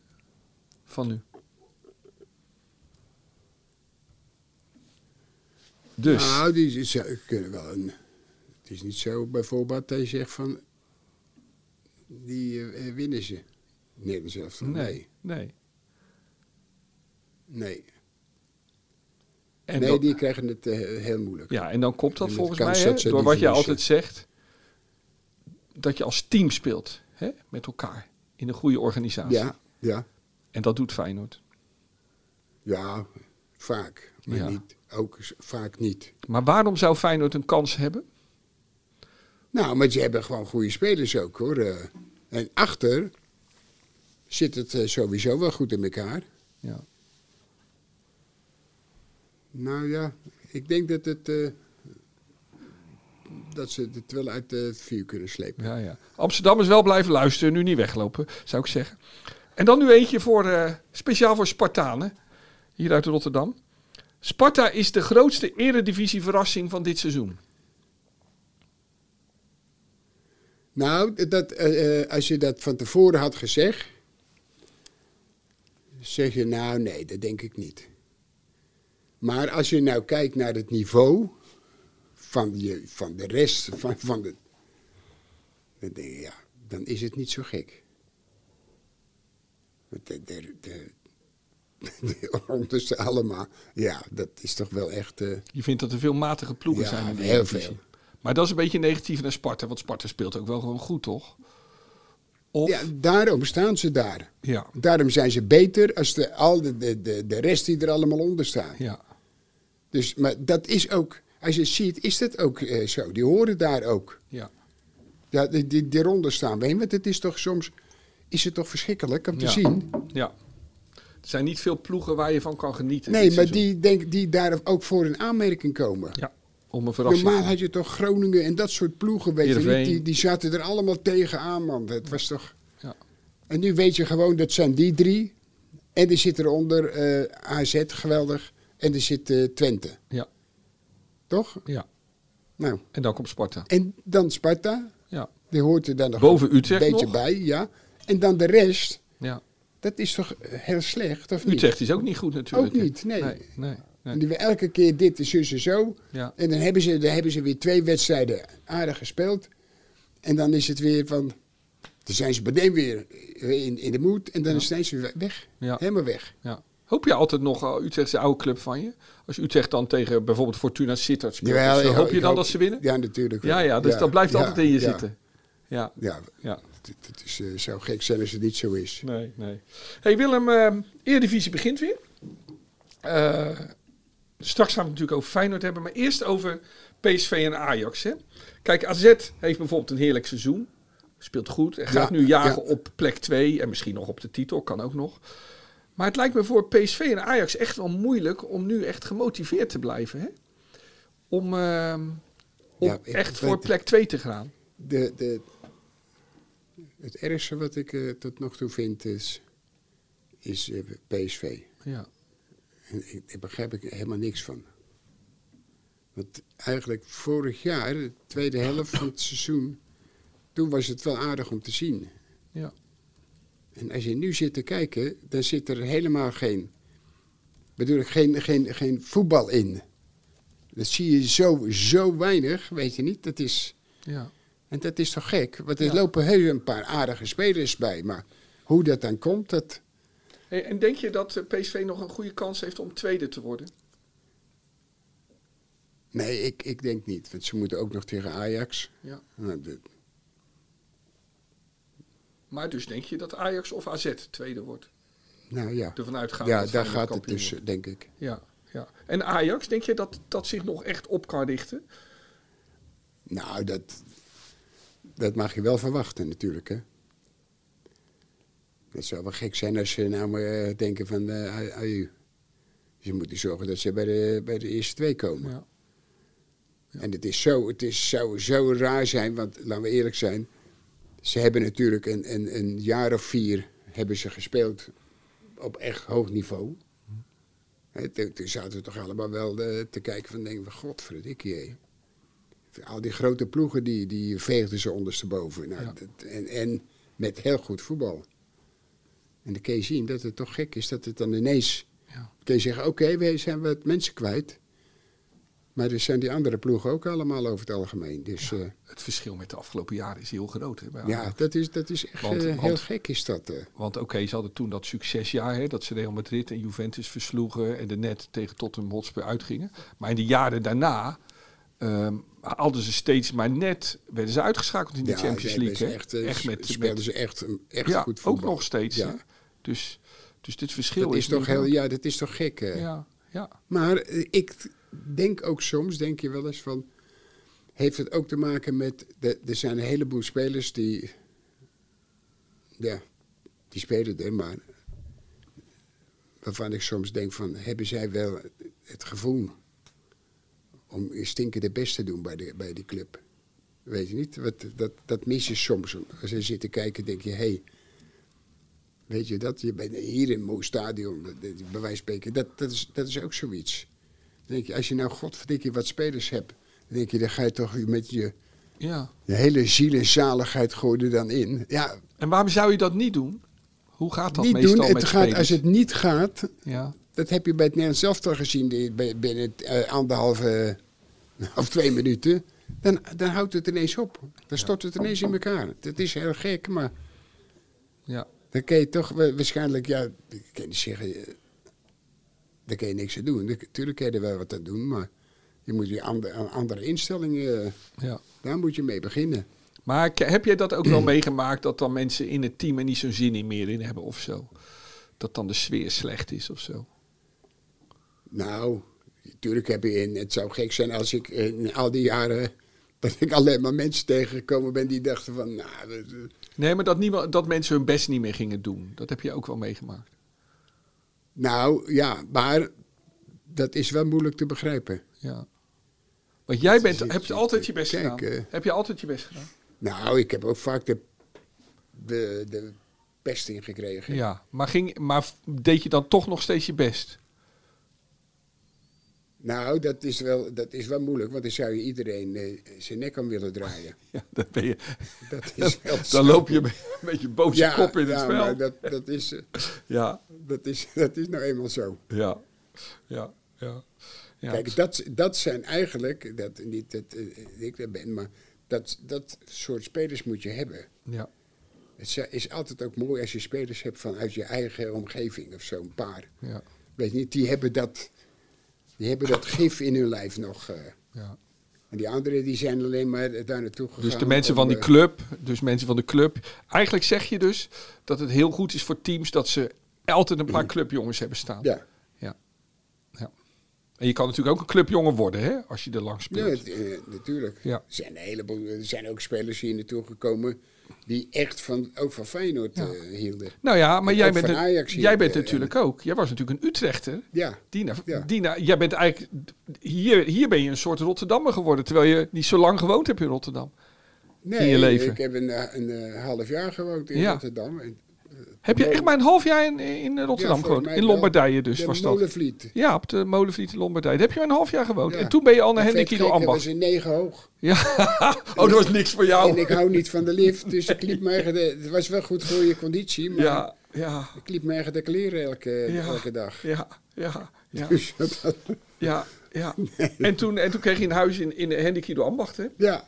Speaker 2: van nu. Dus,
Speaker 1: Nou, die z- zou- kunnen wel een... Het is niet zo bijvoorbeeld dat je zegt van... die eh, winnen ze. Nee, zelfs
Speaker 2: nee, nee.
Speaker 1: Nee,
Speaker 2: En
Speaker 1: nee
Speaker 2: dan-
Speaker 1: die krijgen het eh, heel moeilijk.
Speaker 2: ja, en dan komt dat
Speaker 1: En
Speaker 2: volgens
Speaker 1: dat kan
Speaker 2: mij, hè,
Speaker 1: Zetse
Speaker 2: door
Speaker 1: niet
Speaker 2: wat je
Speaker 1: verliezen.
Speaker 2: altijd zegt, dat je als team speelt hè, met elkaar in een goede organisatie.
Speaker 1: Ja, ja,
Speaker 2: En dat doet Feyenoord.
Speaker 1: ja, vaak. Maar
Speaker 2: Ja.
Speaker 1: niet, ook s- vaak niet.
Speaker 2: Maar waarom zou Feyenoord een kans hebben?
Speaker 1: Nou, maar ze hebben gewoon goede spelers ook hoor. eh. En achter zit het eh, sowieso wel goed in elkaar.
Speaker 2: Ja.
Speaker 1: Nou ja, ik denk dat het. eh, dat ze het wel uit eh, het vuur kunnen slepen.
Speaker 2: Ja, ja. Amsterdam is wel blijven luisteren, nu niet weglopen, zou ik zeggen. En dan nu eentje voor, eh, speciaal voor Spartanen, hier uit Rotterdam. Sparta is de grootste eredivisie-verrassing van dit seizoen.
Speaker 1: Nou, dat, eh, eh, als je dat van tevoren had gezegd. zeg je nou nee, dat denk ik niet. Maar als je nou kijkt naar het niveau. van, je, van de rest, van, van de. dan denk je ja, dan is het niet zo gek. Want De, de, de, de onderste allemaal, ja, dat is toch wel echt... eh,
Speaker 2: Je vindt dat er veel matige ploegen
Speaker 1: Ja,
Speaker 2: zijn in de
Speaker 1: heel
Speaker 2: Eredivisie.
Speaker 1: veel.
Speaker 2: Maar dat is een beetje negatief naar Sparta, want Sparta speelt ook wel gewoon goed, toch? Of,
Speaker 1: ja,
Speaker 2: ja.
Speaker 1: daarom staan ze daar. Daarom zijn ze beter als de, al de, de, de, de rest die er allemaal onder staan.
Speaker 2: ja.
Speaker 1: Dus, maar dat is ook, als je het ziet, is dat ook eh, zo. Die horen daar ook.
Speaker 2: Ja,
Speaker 1: Ja, die, die, die ronden staan we in, want het is toch soms, is het toch verschrikkelijk om te
Speaker 2: Ja.
Speaker 1: zien.
Speaker 2: ja. Er zijn niet veel ploegen waar je van kan genieten.
Speaker 1: Nee,
Speaker 2: dit
Speaker 1: maar
Speaker 2: seizoen.
Speaker 1: die, denk, die daar ook voor in aanmerking komen.
Speaker 2: Ja, om een verrassing.
Speaker 1: Normaal had je toch Groningen en dat soort ploegen, weet je niet?
Speaker 2: Heerenveen.
Speaker 1: Die, die zaten er allemaal tegenaan, man. Het was toch...
Speaker 2: Ja.
Speaker 1: En nu weet je gewoon, dat zijn die drie. En er zit eronder eh AZ, geweldig. En er zit eh, Twente,
Speaker 2: Ja,
Speaker 1: toch?
Speaker 2: ja.
Speaker 1: Nou,
Speaker 2: En dan komt Sparta.
Speaker 1: en dan Sparta.
Speaker 2: Ja,
Speaker 1: Die hoort er dan nog
Speaker 2: Boven
Speaker 1: een
Speaker 2: Utrecht
Speaker 1: beetje
Speaker 2: nog.
Speaker 1: bij, ja. En dan de rest,
Speaker 2: ja.
Speaker 1: dat is toch eh, heel slecht, of niet?
Speaker 2: Utrecht is ook niet goed natuurlijk.
Speaker 1: Ook
Speaker 2: hè?
Speaker 1: niet, nee.
Speaker 2: Nee, nee, nee.
Speaker 1: En die we elke keer dit en zus en zo.
Speaker 2: Ja.
Speaker 1: En dan hebben, ze, dan hebben ze weer twee wedstrijden aardig gespeeld. En dan is het weer van... Dan zijn ze meteen weer eh, in, in de moed. En dan zijn ze we- weg.
Speaker 2: Ja.
Speaker 1: Helemaal weg.
Speaker 2: Ja. Hoop je altijd nog eh, Utrecht is de oude club van je? Als Utrecht dan tegen bijvoorbeeld Fortuna Sittard speelt,
Speaker 1: Jawel,
Speaker 2: of zo,
Speaker 1: ik
Speaker 2: hoop je
Speaker 1: Dus ik
Speaker 2: dan dat ze winnen?
Speaker 1: Ja, natuurlijk. wel.
Speaker 2: Ja, ja, dus dat blijft
Speaker 1: ja,
Speaker 2: altijd in je
Speaker 1: ja,
Speaker 2: zitten. Ja,
Speaker 1: Ja,
Speaker 2: ja.
Speaker 1: het, het is, eh, zou gek zijn als het niet zo is.
Speaker 2: Nee, nee. Hey Willem, eh Eredivisie begint weer. Eh, straks gaan we het natuurlijk over Feyenoord hebben, maar eerst over PSV en Ajax. Hè? Kijk, AZ heeft bijvoorbeeld een heerlijk seizoen. Speelt goed en gaat
Speaker 1: Ja,
Speaker 2: nu jagen
Speaker 1: ja.
Speaker 2: op plek 2 en misschien nog op de titel, kan ook nog. Maar het lijkt me voor PSV en Ajax echt wel moeilijk om nu echt gemotiveerd te blijven. Hè? Om, eh, om
Speaker 1: Ja, ik
Speaker 2: echt
Speaker 1: weet
Speaker 2: voor
Speaker 1: het.
Speaker 2: plek 2 te gaan.
Speaker 1: De, de, het ergste wat ik eh, tot nog toe vind is, is eh, PSV.
Speaker 2: Ja,
Speaker 1: En ik, daar begrijp ik helemaal niks van. Want eigenlijk vorig jaar, de tweede helft van het seizoen, toen was het wel aardig om te zien.
Speaker 2: ja,
Speaker 1: En als je nu zit te kijken, dan zit er helemaal geen, bedoel ik, geen, geen, geen voetbal in. Dat zie je zo, zo weinig, weet je niet. Dat is,
Speaker 2: ja.
Speaker 1: en dat is toch gek? Want er
Speaker 2: Ja.
Speaker 1: lopen heel een paar aardige spelers bij. Maar hoe dat dan komt, dat,
Speaker 2: Hey, en denk je dat eh, PSV nog een goede kans heeft om tweede te worden?
Speaker 1: nee, ik, ik denk niet. Want ze moeten ook nog tegen Ajax.
Speaker 2: Ja.
Speaker 1: Nou, dat-
Speaker 2: Maar dus denk je dat Ajax of AZ tweede wordt?
Speaker 1: nou ja.
Speaker 2: Ervan uitgaan
Speaker 1: Ja,
Speaker 2: dat
Speaker 1: daar
Speaker 2: Feyenoord
Speaker 1: gaat het
Speaker 2: kampioen
Speaker 1: dus,
Speaker 2: wordt.
Speaker 1: denk ik.
Speaker 2: Ja, ja. En Ajax, denk je dat dat zich nog echt op kan richten?
Speaker 1: Nou, dat, dat mag je wel verwachten natuurlijk, hè. Dat zou wel gek zijn als ze nou maar denken van... eh, ai- ai. ze moeten zorgen dat ze bij de, bij de eerste twee komen.
Speaker 2: Ja.
Speaker 1: En het, is zo, het is, zou zo raar zijn, want laten we eerlijk zijn... Ze hebben natuurlijk een, een, een jaar of vier hebben ze gespeeld op echt hoog niveau. Hè, toen, toen zaten we toch allemaal wel eh, te kijken van, denken we, godverdikkie. hé. Al die grote ploegen, die, die veegden ze ondersteboven. Nou,
Speaker 2: Ja.
Speaker 1: dat- en, en met heel goed voetbal. En dan kun je zien dat het toch gek is dat het dan ineens...
Speaker 2: Ja.
Speaker 1: kun je zeggen, oké, we zijn wat mensen kwijt. Maar er zijn die andere ploegen ook allemaal over het algemeen. Dus ja,
Speaker 2: Het verschil met de afgelopen jaren is heel groot. Hè, bij
Speaker 1: ja
Speaker 2: Ajax.
Speaker 1: dat, is, dat is echt
Speaker 2: Want-
Speaker 1: eh, heel
Speaker 2: want-
Speaker 1: gek is dat. eh.
Speaker 2: Want oké, ze hadden toen dat succesjaar, hè, dat ze Real Madrid en Juventus versloegen en de net tegen Tottenham Hotspur uitgingen. Maar in de jaren daarna ehm, haalden ze steeds maar net, werden ze uitgeschakeld in de
Speaker 1: Ja,
Speaker 2: Champions
Speaker 1: ze hebben
Speaker 2: League.
Speaker 1: ze
Speaker 2: hè.
Speaker 1: Echt, eh,
Speaker 2: echt met,
Speaker 1: speelden ze
Speaker 2: met-
Speaker 1: echt, een- echt
Speaker 2: ja,
Speaker 1: goed
Speaker 2: ook
Speaker 1: voetbal.
Speaker 2: nog steeds.
Speaker 1: Ja.
Speaker 2: hè. Dus, dus dit verschil
Speaker 1: Dat is
Speaker 2: niet
Speaker 1: toch heel,
Speaker 2: groot.
Speaker 1: ja, dat is toch gek. eh.
Speaker 2: Ja, ja,
Speaker 1: Maar eh, ik t- denk ook soms, denk je wel eens van... Heeft het ook te maken met... de- er zijn een heleboel spelers die... Ja, die spelen er, maar... Waarvan ik soms denk van, hebben zij wel het gevoel om stinken de best te doen bij, de, bij die club? Weet je niet? Wat, dat, dat mis je soms. Als je zit te kijken, denk je, hé, hey, Weet je dat? Je bent hier in Moe Stadion, dat- dat- bij wijze van spreken. Dat, dat, is, dat is ook zoiets. Dan denk je, als je nou godverdikke wat spelers hebt, dan denk je, dan ga je toch met je,
Speaker 2: ja.
Speaker 1: je hele ziel en zaligheid gooi je er dan in. Ja,
Speaker 2: En waarom zou je dat niet doen? Hoe gaat dat
Speaker 1: niet
Speaker 2: meestal
Speaker 1: doen. Het
Speaker 2: met
Speaker 1: gaat,
Speaker 2: spelers?
Speaker 1: als het niet gaat,
Speaker 2: Ja,
Speaker 1: dat heb je bij het Nederlands elftal gezien die- bij- binnen eh, anderhalve eh, of twee minuten. Dan, dan houdt het ineens op. Dan stort het ineens in elkaar. Dat is heel gek, maar
Speaker 2: Ja.
Speaker 1: dan kun je toch wa- waarschijnlijk, ja, ik kan niet zeggen, eh, daar kun je niks aan doen. Natuurlijk kun je er wel wat aan doen, maar je moet je ander- aan andere instellingen, eh,
Speaker 2: ja.
Speaker 1: daar moet je mee beginnen.
Speaker 2: Maar ke- heb jij dat ook wel meegemaakt dat dan mensen in het team er niet zo'n zin in meer in hebben of zo? Dat dan de sfeer slecht is of zo?
Speaker 1: Nou, natuurlijk heb je in. Het zou gek zijn als ik in al die jaren. dat ik alleen maar mensen tegengekomen ben die dachten van. Nou, dat- dat-
Speaker 2: Nee, maar dat, niemand, dat mensen hun best niet meer gingen doen. Dat heb je ook wel meegemaakt.
Speaker 1: nou ja, maar. dat is wel moeilijk te begrijpen.
Speaker 2: Ja. Want jij bent,
Speaker 1: Zit-
Speaker 2: hebt
Speaker 1: zit-
Speaker 2: altijd je best
Speaker 1: kijk,
Speaker 2: gedaan.
Speaker 1: eh.
Speaker 2: Heb je altijd je best gedaan?
Speaker 1: Nou, ik heb ook vaak de. de, de pest ingekregen.
Speaker 2: Ja. Maar, ging, maar f- deed je dan toch nog steeds je best?
Speaker 1: Nou, dat is, wel, dat is wel moeilijk, want dan zou je iedereen eh, zijn nek aan willen draaien.
Speaker 2: Ja, dan, ben je,
Speaker 1: Dat is wel zo.
Speaker 2: dan loop je met een beetje boze
Speaker 1: Ja,
Speaker 2: kop in het
Speaker 1: ja,
Speaker 2: spel.
Speaker 1: maar dat, dat, is, eh,
Speaker 2: Ja,
Speaker 1: dat, is, dat is nou eenmaal zo.
Speaker 2: ja, ja, ja. ja.
Speaker 1: Kijk, dat, dat zijn eigenlijk, dat, niet dat eh, ik er ben, maar dat, dat soort spelers moet je hebben.
Speaker 2: ja.
Speaker 1: Het zi- is altijd ook mooi als je spelers hebt vanuit je eigen omgeving of zo, een paar.
Speaker 2: Ja,
Speaker 1: Weet je niet, die hebben dat, die hebben dat gif in hun lijf nog. eh.
Speaker 2: ja.
Speaker 1: En die anderen die zijn alleen maar daar naartoe gegaan.
Speaker 2: Dus de mensen
Speaker 1: om,
Speaker 2: van die
Speaker 1: eh,
Speaker 2: club, dus mensen van de club. Eigenlijk zeg je dus dat het heel goed is voor teams dat ze altijd een paar clubjongens hebben staan.
Speaker 1: Ja,
Speaker 2: ja. Ja. En je kan natuurlijk ook een clubjongen worden, hè, als je er langs
Speaker 1: ja
Speaker 2: speelt.
Speaker 1: het- eh, natuurlijk.
Speaker 2: Ja.
Speaker 1: Er, zijn een heleboel, er zijn ook spelers hier naartoe gekomen die echt van, ook van Feyenoord
Speaker 2: Ja.
Speaker 1: eh, hielden.
Speaker 2: Nou ja, maar
Speaker 1: En
Speaker 2: jij
Speaker 1: ook
Speaker 2: bent,
Speaker 1: van
Speaker 2: het-
Speaker 1: Ajax hier,
Speaker 2: jij bent
Speaker 1: eh,
Speaker 2: natuurlijk ook. Jij was natuurlijk een Utrechter.
Speaker 1: Ja.
Speaker 2: Die naar-
Speaker 1: Ja.
Speaker 2: die naar- jij bent eigenlijk, hier, hier ben je een soort Rotterdammer geworden, terwijl je niet zo lang gewoond hebt in Rotterdam.
Speaker 1: Nee,
Speaker 2: in je leven?
Speaker 1: ik heb een, eh, een eh, half jaar gewoond in
Speaker 2: Ja.
Speaker 1: Rotterdam. En,
Speaker 2: Heb je
Speaker 1: Molen-
Speaker 2: echt maar een half jaar in, in
Speaker 1: Ja,
Speaker 2: Rotterdam
Speaker 1: volgens
Speaker 2: gewoond?
Speaker 1: mij
Speaker 2: In
Speaker 1: wel.
Speaker 2: Lombardije dus,
Speaker 1: de
Speaker 2: was dat?
Speaker 1: Molenvliet.
Speaker 2: Ja, op de Molenvliet in Lombardij. Daar heb je maar een half jaar gewoond.
Speaker 1: Ja.
Speaker 2: En toen ben je al naar
Speaker 1: Dat
Speaker 2: Hendrik
Speaker 1: vet
Speaker 2: Ido
Speaker 1: gek, dat
Speaker 2: Ambacht.
Speaker 1: was in negen hoog.
Speaker 2: Ja. oh, dat was niks voor jou.
Speaker 1: En ik hou niet van de lift, dus ik liep me eigen... de- Het was wel goed voor je conditie, maar
Speaker 2: ja, ja,
Speaker 1: ik liep me eigen de kleren elke,
Speaker 2: Ja.
Speaker 1: elke dag.
Speaker 2: ja, ja, ja,
Speaker 1: Dus dat-
Speaker 2: ja, ja. En, toen, en toen kreeg je een huis in, in Hendrik Ido Ambacht, hè?
Speaker 1: ja,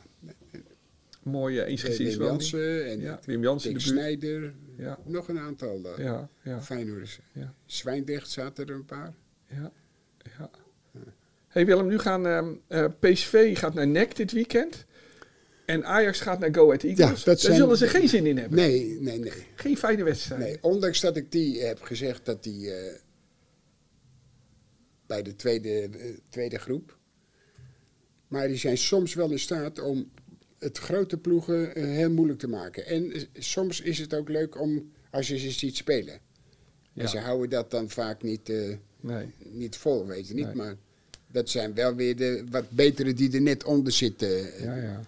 Speaker 2: Mooie
Speaker 1: Wim
Speaker 2: eensgezinswoning.
Speaker 1: Jansen en
Speaker 2: Ja, Wim Jansen in
Speaker 1: Dick
Speaker 2: de buurt.
Speaker 1: Snijder.
Speaker 2: Ja.
Speaker 1: Nog een aantal eh. daar.
Speaker 2: Ja, ja,
Speaker 1: Feyenoorders.
Speaker 2: Ja.
Speaker 1: Zwijndrecht zaten er een paar.
Speaker 2: ja, ja. hey Willem, nu gaan ehm, eh, PSV gaat naar NEC dit weekend. En Ajax gaat naar Go Ahead Eagles.
Speaker 1: dat
Speaker 2: Daar
Speaker 1: zijn-
Speaker 2: zullen ze geen zin in hebben.
Speaker 1: Nee, nee, nee.
Speaker 2: Geen fijne wedstrijd.
Speaker 1: Nee, ondanks dat ik die heb gezegd dat die eh, bij de tweede, eh, tweede groep. Maar die zijn soms wel in staat om het grote ploegen eh, heel moeilijk te maken. En eh, soms is het ook leuk om als je ze ziet spelen.
Speaker 2: Ja.
Speaker 1: En ze houden dat dan vaak niet, eh,
Speaker 2: Nee.
Speaker 1: niet vol, weet je niet.
Speaker 2: Nee.
Speaker 1: Maar dat zijn wel weer de wat betere die er net onder zitten. eh,
Speaker 2: Ja, ja.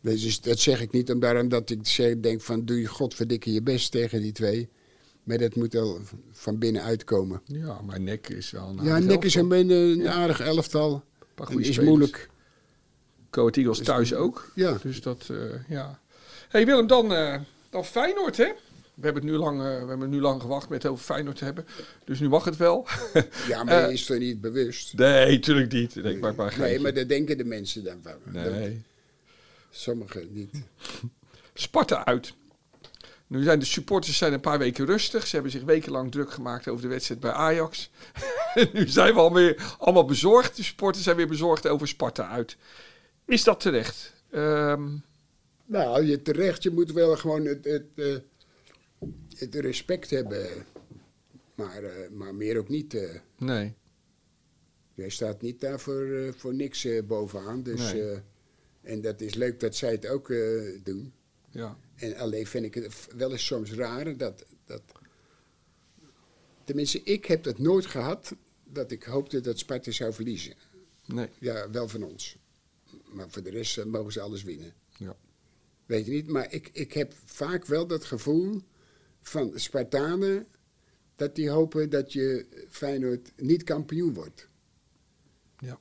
Speaker 1: Dus dat zeg ik niet om- daarom dat ik zeg- denk van doe je godverdikke je best tegen die twee. Maar dat moet wel van binnenuit komen.
Speaker 2: Ja, maar Nek is wel een
Speaker 1: ja,
Speaker 2: aardig
Speaker 1: Nek is
Speaker 2: elftal.
Speaker 1: een, beetje een aardig elftal.
Speaker 2: paar
Speaker 1: Het
Speaker 2: goede
Speaker 1: is
Speaker 2: spelers.
Speaker 1: moeilijk.
Speaker 2: Go Ahead Eagles thuis ook.
Speaker 1: Ja.
Speaker 2: Dus dat, eh, ja. hey Willem, dan, eh dan Feyenoord, hè? We hebben, het nu lang, eh, we hebben nu lang gewacht met over Feyenoord te hebben. Dus nu mag het wel.
Speaker 1: Ja, maar
Speaker 2: Eh,
Speaker 1: je is er niet bewust.
Speaker 2: nee, tuurlijk niet. Nee, ik maak maar een
Speaker 1: Nee,
Speaker 2: geintje.
Speaker 1: maar daar denken de mensen dan van. Dat-
Speaker 2: Nee.
Speaker 1: Sommigen niet.
Speaker 2: Sparta uit. Nu zijn de supporters zijn een paar weken rustig. Ze hebben zich wekenlang druk gemaakt over de wedstrijd bij Ajax. nu zijn we alweer allemaal bezorgd. De supporters zijn weer bezorgd over Sparta uit. Is dat terecht? Ehm,
Speaker 1: Nou, je terecht, je moet wel gewoon het, het, eh, het respect hebben. Maar, eh, maar meer ook niet. eh.
Speaker 2: nee.
Speaker 1: Jij staat niet daar voor, eh, voor niks eh, bovenaan. Dus,
Speaker 2: Nee.
Speaker 1: eh, en dat is leuk dat zij het ook eh, doen.
Speaker 2: Ja.
Speaker 1: En alleen vind ik het wel eens soms raar dat, dat. Tenminste, ik heb dat nooit gehad dat ik hoopte dat Sparta zou verliezen.
Speaker 2: Nee.
Speaker 1: Ja, wel van ons. Maar voor de rest eh, mogen ze alles winnen.
Speaker 2: Ja.
Speaker 1: Weet je niet, maar ik, ik heb vaak wel dat gevoel van Spartanen dat die hopen dat je Feyenoord niet kampioen wordt.
Speaker 2: Ja.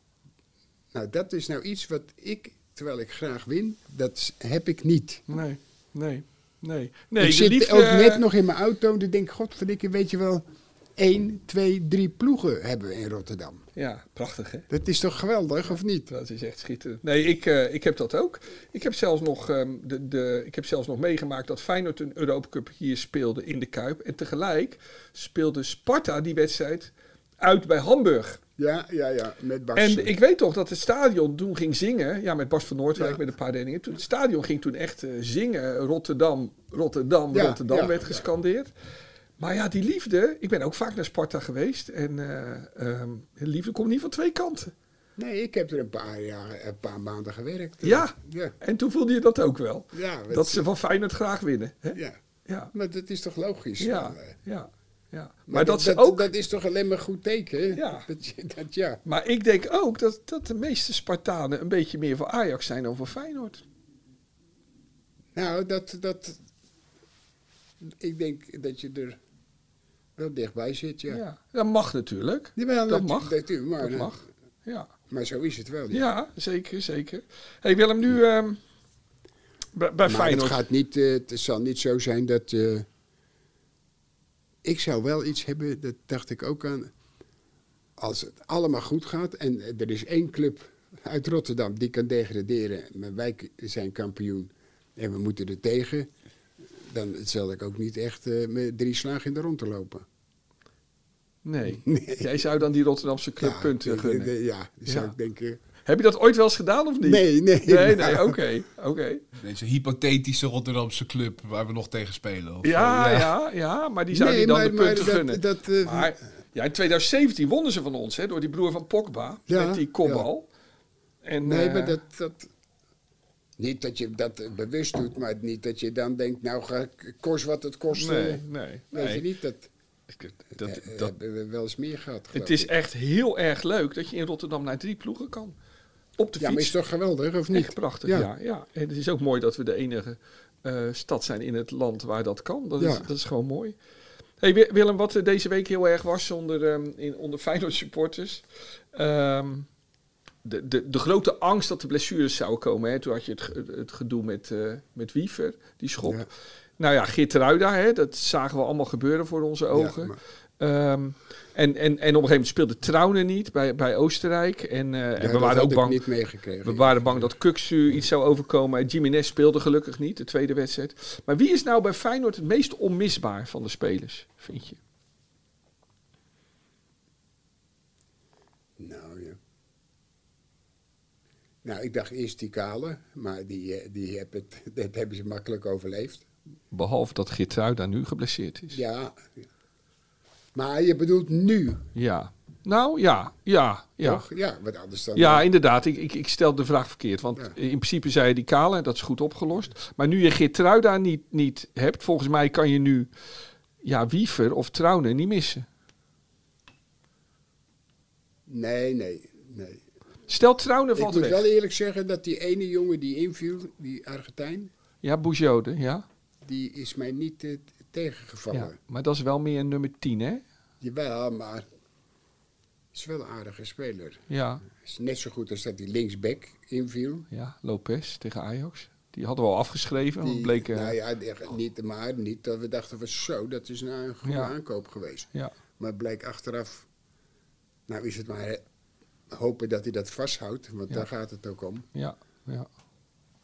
Speaker 1: Nou, dat is nou iets wat ik, terwijl ik graag win, dat s- heb ik niet.
Speaker 2: Nee. Nee. eh, Nee. nee
Speaker 1: ik
Speaker 2: de
Speaker 1: zit
Speaker 2: liefde-
Speaker 1: ook net nog in mijn auto en dan denk ik, godverdikke, weet je wel, één, twee, drie ploegen hebben we in Rotterdam.
Speaker 2: Ja, prachtig hè?
Speaker 1: Dat is toch geweldig, of niet?
Speaker 2: Dat is echt schitterend. Nee, ik, eh, ik heb dat ook. Ik heb, zelfs nog, ehm, de, de, ik heb zelfs nog meegemaakt dat Feyenoord een Europa Cup hier speelde in de Kuip. En tegelijk speelde Sparta die wedstrijd uit bij Hamburg.
Speaker 1: Ja, ja, ja, met Bassen.
Speaker 2: En ik weet toch dat het stadion toen ging zingen. Ja, met Bas van Noordwijk,
Speaker 1: Ja.
Speaker 2: met een paar dingen. Toen, het stadion ging toen echt eh, zingen. Rotterdam, Rotterdam,
Speaker 1: Ja,
Speaker 2: Rotterdam
Speaker 1: ja,
Speaker 2: werd
Speaker 1: ja.
Speaker 2: gescandeerd. Maar ja, die liefde. Ik ben ook vaak naar Sparta geweest. En eh, ehm, de liefde komt niet van twee kanten.
Speaker 1: Nee, ik heb er een paar, jaar, een paar maanden gewerkt.
Speaker 2: Ja.
Speaker 1: Ja,
Speaker 2: En toen voelde je dat ook wel.
Speaker 1: ja,
Speaker 2: Dat ze van Feyenoord graag winnen. Hè?
Speaker 1: ja.
Speaker 2: Ja,
Speaker 1: Maar dat is toch logisch?
Speaker 2: ja,
Speaker 1: Dan, eh.
Speaker 2: ja, ja. Maar,
Speaker 1: Maar
Speaker 2: dat, ze
Speaker 1: dat,
Speaker 2: ook...
Speaker 1: dat is toch alleen maar goed teken? hè?
Speaker 2: Ja.
Speaker 1: Dat, je- dat, ja.
Speaker 2: Maar ik denk ook dat, dat de meeste Spartanen een beetje meer voor Ajax zijn dan voor Feyenoord.
Speaker 1: Nou, dat, dat... Ik denk dat je er wel dichtbij zit, ja.
Speaker 2: Ja. Dat mag natuurlijk.
Speaker 1: Jawel,
Speaker 2: Dat
Speaker 1: natu-
Speaker 2: mag.
Speaker 1: natuurlijk, maar,
Speaker 2: Dat mag. Ja.
Speaker 1: maar zo is het wel. ja.
Speaker 2: Ja, zeker, zeker. hey Willem, nu ehm, bij, bij
Speaker 1: maar het,
Speaker 2: Feyenoord.
Speaker 1: gaat niet, eh, het zal niet zo zijn dat... eh, ik zou wel iets hebben, dat dacht ik ook aan... Als het allemaal goed gaat en eh, er is één club uit Rotterdam die kan degraderen... maar wij k- zijn kampioen en we moeten er tegen... dan zal ik ook niet echt eh, met drie slagen in de rond lopen.
Speaker 2: Nee. Jij zou dan die Rotterdamse club punten
Speaker 1: ik-
Speaker 2: gunnen.
Speaker 1: eh, Ja, dan zou
Speaker 2: Ja.
Speaker 1: ik denken...
Speaker 2: Heb je dat ooit wel eens gedaan of niet?
Speaker 1: Nee, nee.
Speaker 2: Nee, nee,
Speaker 1: nou.
Speaker 2: oké. oké.
Speaker 4: Deze hypothetische Rotterdamse club waar we nog tegen spelen. Of,
Speaker 2: Ja,
Speaker 4: eh,
Speaker 2: ja, ja, maar die zou
Speaker 1: Nee,
Speaker 2: die dan
Speaker 1: maar-
Speaker 2: de
Speaker 1: maar
Speaker 2: punten
Speaker 1: dat-
Speaker 2: gunnen.
Speaker 1: dat, eh,
Speaker 2: maar ja, in 2017 wonnen ze van ons, hè, door die broer van Pogba,
Speaker 1: Ja,
Speaker 2: met die kopbal. En,
Speaker 1: Nee,
Speaker 2: eh,
Speaker 1: maar dat, dat... Niet dat je dat eh, bewust doet, maar niet dat je dan denkt... nou, ga ik- kost wat het kost. eh,
Speaker 2: Nee, nee,
Speaker 1: Weet je
Speaker 2: nee.
Speaker 1: niet, dat,
Speaker 2: Ik- Dat,
Speaker 1: eh,
Speaker 2: dat,
Speaker 1: hebben we wel eens meer gehad. geloof
Speaker 2: het is
Speaker 1: ik.
Speaker 2: echt heel erg leuk dat je in Rotterdam naar drie ploegen kan. Op de
Speaker 1: Ja, maar
Speaker 2: fiets.
Speaker 1: is toch geweldig, of niet?
Speaker 2: Echt prachtig, ja.
Speaker 1: Ja.
Speaker 2: ja, En het is ook mooi dat we de enige eh, stad zijn in het land waar dat kan. Dat, is,
Speaker 1: Ja.
Speaker 2: dat is gewoon mooi. Hey, Wi- Willem, wat er deze week heel erg was onder, ehm, in, onder Feyenoord supporters... ehm, de, de, de grote angst dat de blessures zouden komen. Hè? Toen had je het, ge- het gedoe met, eh, met Wiever, die schop.
Speaker 1: Ja.
Speaker 2: Nou ja, Geert Ruida, hè, dat zagen we allemaal gebeuren voor onze ogen.
Speaker 1: maar-
Speaker 2: Ehm, en, en, en op een gegeven moment speelde Trauner niet bij, bij Oostenrijk. En, eh,
Speaker 1: Ja,
Speaker 2: en we
Speaker 1: dat
Speaker 2: waren
Speaker 1: had
Speaker 2: ook
Speaker 1: ik
Speaker 2: bang
Speaker 1: niet meegekregen.
Speaker 2: we waren bang dat Kuksu iets zou overkomen. Jiménez speelde gelukkig niet, de tweede wedstrijd. Maar wie is nou bij Feyenoord het meest onmisbaar van de spelers, vind je?
Speaker 1: Nou, ja. Nou, ik dacht eerst die kale, maar die, eh, die heb het, dat hebben ze makkelijk overleefd.
Speaker 2: Behalve dat Geertruida nu geblesseerd is. Ja.
Speaker 1: Ja. Maar je bedoelt nu,
Speaker 2: Nou, ja. Ja, ja.
Speaker 1: toch? Ja, wat anders dan...
Speaker 2: Ja, inderdaad. Ik, ik, ik stel de vraag verkeerd. Want
Speaker 1: Ja.
Speaker 2: in principe zei je die kale, dat is goed opgelost. Maar nu je Geertruida niet, niet hebt, volgens mij kan je nu ja, Wiever of Trouwen niet missen.
Speaker 1: Nee, nee, nee.
Speaker 2: Stel Trouwen
Speaker 1: Ik
Speaker 2: valt
Speaker 1: moet
Speaker 2: weg.
Speaker 1: wel eerlijk zeggen dat die ene jongen die inviel, die Argentijn,
Speaker 2: Ja, Boujode, ja.
Speaker 1: die is mij niet eh, t- tegengevallen.
Speaker 2: ja. Maar dat is wel meer een nummer 10, hè?
Speaker 1: Jawel, maar is wel een aardige speler.
Speaker 2: Ja,
Speaker 1: Is net zo goed als dat die linksback inviel.
Speaker 2: ja, Lopez tegen Ajax. Die hadden we al afgeschreven, want
Speaker 1: Die-
Speaker 2: het bleek... eh,
Speaker 1: nou ja, die- niet, maar niet dat we dachten van zo, dat is nou een goede
Speaker 2: Ja.
Speaker 1: aankoop geweest.
Speaker 2: ja.
Speaker 1: Maar het bleek achteraf, nou is het maar eh, hopen dat hij dat vasthoudt, want
Speaker 2: Ja.
Speaker 1: daar gaat het ook om.
Speaker 2: Ja, ja.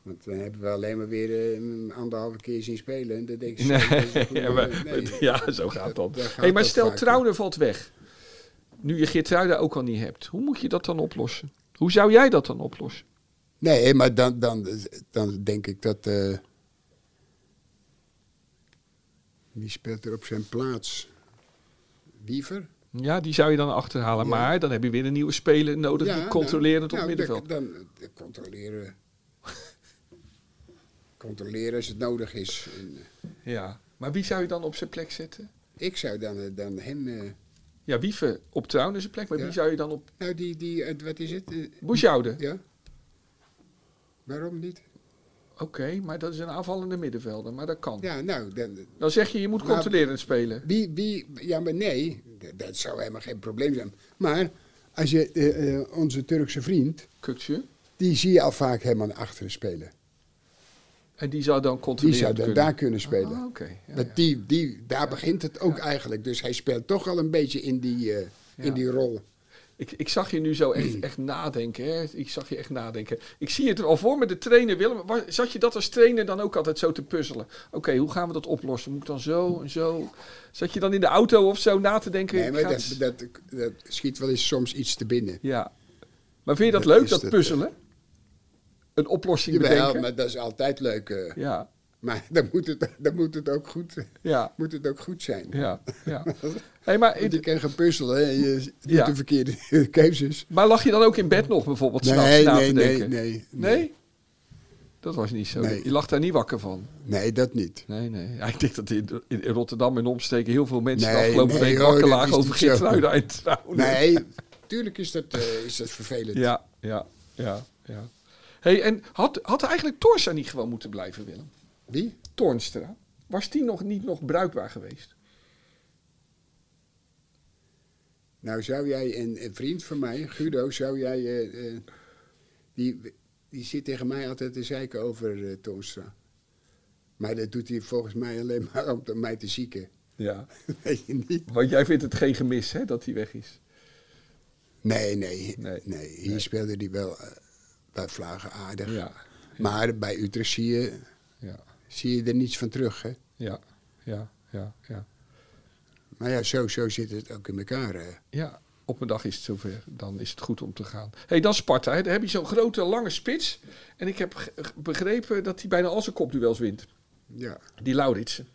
Speaker 1: Want dan hebben we alleen maar weer eh, een anderhalve keer zien spelen en dan denk je, zo, dat is een
Speaker 2: Nee,
Speaker 1: goede-
Speaker 2: ja, maar-
Speaker 1: nee.
Speaker 2: ja, zo gaat dat.
Speaker 1: Daar gaat
Speaker 2: Hey, maar
Speaker 1: dat
Speaker 2: stel,
Speaker 1: vaak
Speaker 2: Trouwner valt weg. Nu je Geertruida ook al niet hebt. Hoe moet je dat dan oplossen? Hoe zou jij dat dan oplossen?
Speaker 1: Nee, eh, maar dan, dan, dan denk ik dat. eh wie speelt er op zijn plaats? Wiever?
Speaker 2: Ja, die zou je dan achterhalen.
Speaker 1: Ja.
Speaker 2: Maar dan heb je weer een nieuwe speler nodig die controlerend op
Speaker 1: nou,
Speaker 2: middenveld.
Speaker 1: Dan, dan, eh, controleren. controleren als het nodig is. En, eh,
Speaker 2: Ja. Maar wie zou je dan op zijn plek zetten?
Speaker 1: ik zou dan, eh, dan hem. eh,
Speaker 2: Ja, Wieven op Trouwner zijn plek. Maar
Speaker 1: Ja.
Speaker 2: wie zou je dan op
Speaker 1: nou, die, die eh, wat is het? Eh,
Speaker 2: Boujoude?
Speaker 1: ja? Waarom niet?
Speaker 2: Oké, maar dat is een aanvallende middenvelder. Maar dat kan.
Speaker 1: Ja, nou, dan,
Speaker 2: Dan zeg je, je moet
Speaker 1: Maar-
Speaker 2: controlerend spelen.
Speaker 1: Wie, wie, ja, maar nee, d- dat zou helemaal geen probleem zijn. Maar als je eh, eh, onze Turkse vriend,
Speaker 2: Kukje.
Speaker 1: die zie je al vaak helemaal naar achteren spelen.
Speaker 2: En die zou dan
Speaker 1: Die
Speaker 2: controleren
Speaker 1: zou dan
Speaker 2: kunnen.
Speaker 1: daar kunnen spelen.
Speaker 2: Ah, oké. Ja,
Speaker 1: Want die, die, daar begint het ook eigenlijk. Dus hij speelt toch al een beetje in die, eh,
Speaker 2: Ja.
Speaker 1: in die rol.
Speaker 2: Ik, ik zag je nu zo echt, echt nadenken. Hè? Ik zag je echt nadenken. Ik zie het al voor me, de trainer Willem. Waar- zat je dat als trainer dan ook altijd zo te puzzelen? Oké, hoe gaan we dat oplossen? Moet ik dan zo en zo? Zat je dan in de auto of zo na te denken?
Speaker 1: Nee, maar
Speaker 2: Gaat-
Speaker 1: dat, dat, dat schiet wel eens soms iets te binnen.
Speaker 2: Ja. Maar vind je dat,
Speaker 1: Dat
Speaker 2: leuk,
Speaker 1: is
Speaker 2: dat
Speaker 1: het, eh,
Speaker 2: puzzelen? Een oplossing
Speaker 1: Jawel,
Speaker 2: bedenken?
Speaker 1: maar dat is altijd leuk. eh.
Speaker 2: Ja,
Speaker 1: Maar dan moet het, dan moet het, ook, goed,
Speaker 2: ja,
Speaker 1: moet het ook goed zijn.
Speaker 2: ja, ja. Hey, maar,
Speaker 1: Want je kan gaan puzzelen en je doet
Speaker 2: Ja.
Speaker 1: de verkeerde keuzes.
Speaker 2: maar lag je dan ook in bed nog bijvoorbeeld s'nachts
Speaker 1: Nee,
Speaker 2: na
Speaker 1: nee,
Speaker 2: te
Speaker 1: nee,
Speaker 2: denken?
Speaker 1: nee, nee.
Speaker 2: Nee? Dat was niet zo.
Speaker 1: Nee.
Speaker 2: Je lag daar niet wakker van.
Speaker 1: Nee, dat niet.
Speaker 2: Nee, nee. Ja, ik denk dat in, in Rotterdam en omstreken heel veel mensen de
Speaker 1: Nee,
Speaker 2: afgelopen
Speaker 1: nee,
Speaker 2: week
Speaker 1: hoor,
Speaker 2: wakker
Speaker 1: dat
Speaker 2: lagen
Speaker 1: is
Speaker 2: over
Speaker 1: niet zo.
Speaker 2: Geertruida en Trouwen.
Speaker 1: Nee, tuurlijk is dat, eh, is dat vervelend.
Speaker 2: Oh, Ja, ja, ja, ja. hey, en had, had eigenlijk Torsa niet gewoon moeten blijven, Willem?
Speaker 1: Wie?
Speaker 2: Tornstra. Was die nog niet nog bruikbaar geweest?
Speaker 1: Nou, zou jij een, een vriend van mij, Guido, zou jij. eh, eh, die, die zit tegen mij altijd te zeiken over eh Toonstra. Maar dat doet hij volgens mij alleen maar om te- mij te zieken.
Speaker 2: Ja.
Speaker 1: Weet je niet?
Speaker 2: Want jij vindt het geen gemis, hè, dat hij weg is?
Speaker 1: Nee, nee.
Speaker 2: Nee,
Speaker 1: nee, Hier
Speaker 2: nee.
Speaker 1: speelde hij wel eh, bij Vlagen aardig.
Speaker 2: Ja.
Speaker 1: Maar bij Utrecht zie je,
Speaker 2: Ja,
Speaker 1: zie je er niets van terug. Hè?
Speaker 2: ja, ja, ja, ja.
Speaker 1: Maar ja, zo, zo zit het ook in elkaar. hè.
Speaker 2: Ja, op een dag is het zover. Dan is het goed om te gaan. Hé, hey, dan Sparta. Hè. Daar heb je zo'n grote, lange spits. En ik heb ge- ge- begrepen dat hij bijna al zijn kopduels wint.
Speaker 1: Ja.
Speaker 2: Die Lauritsen.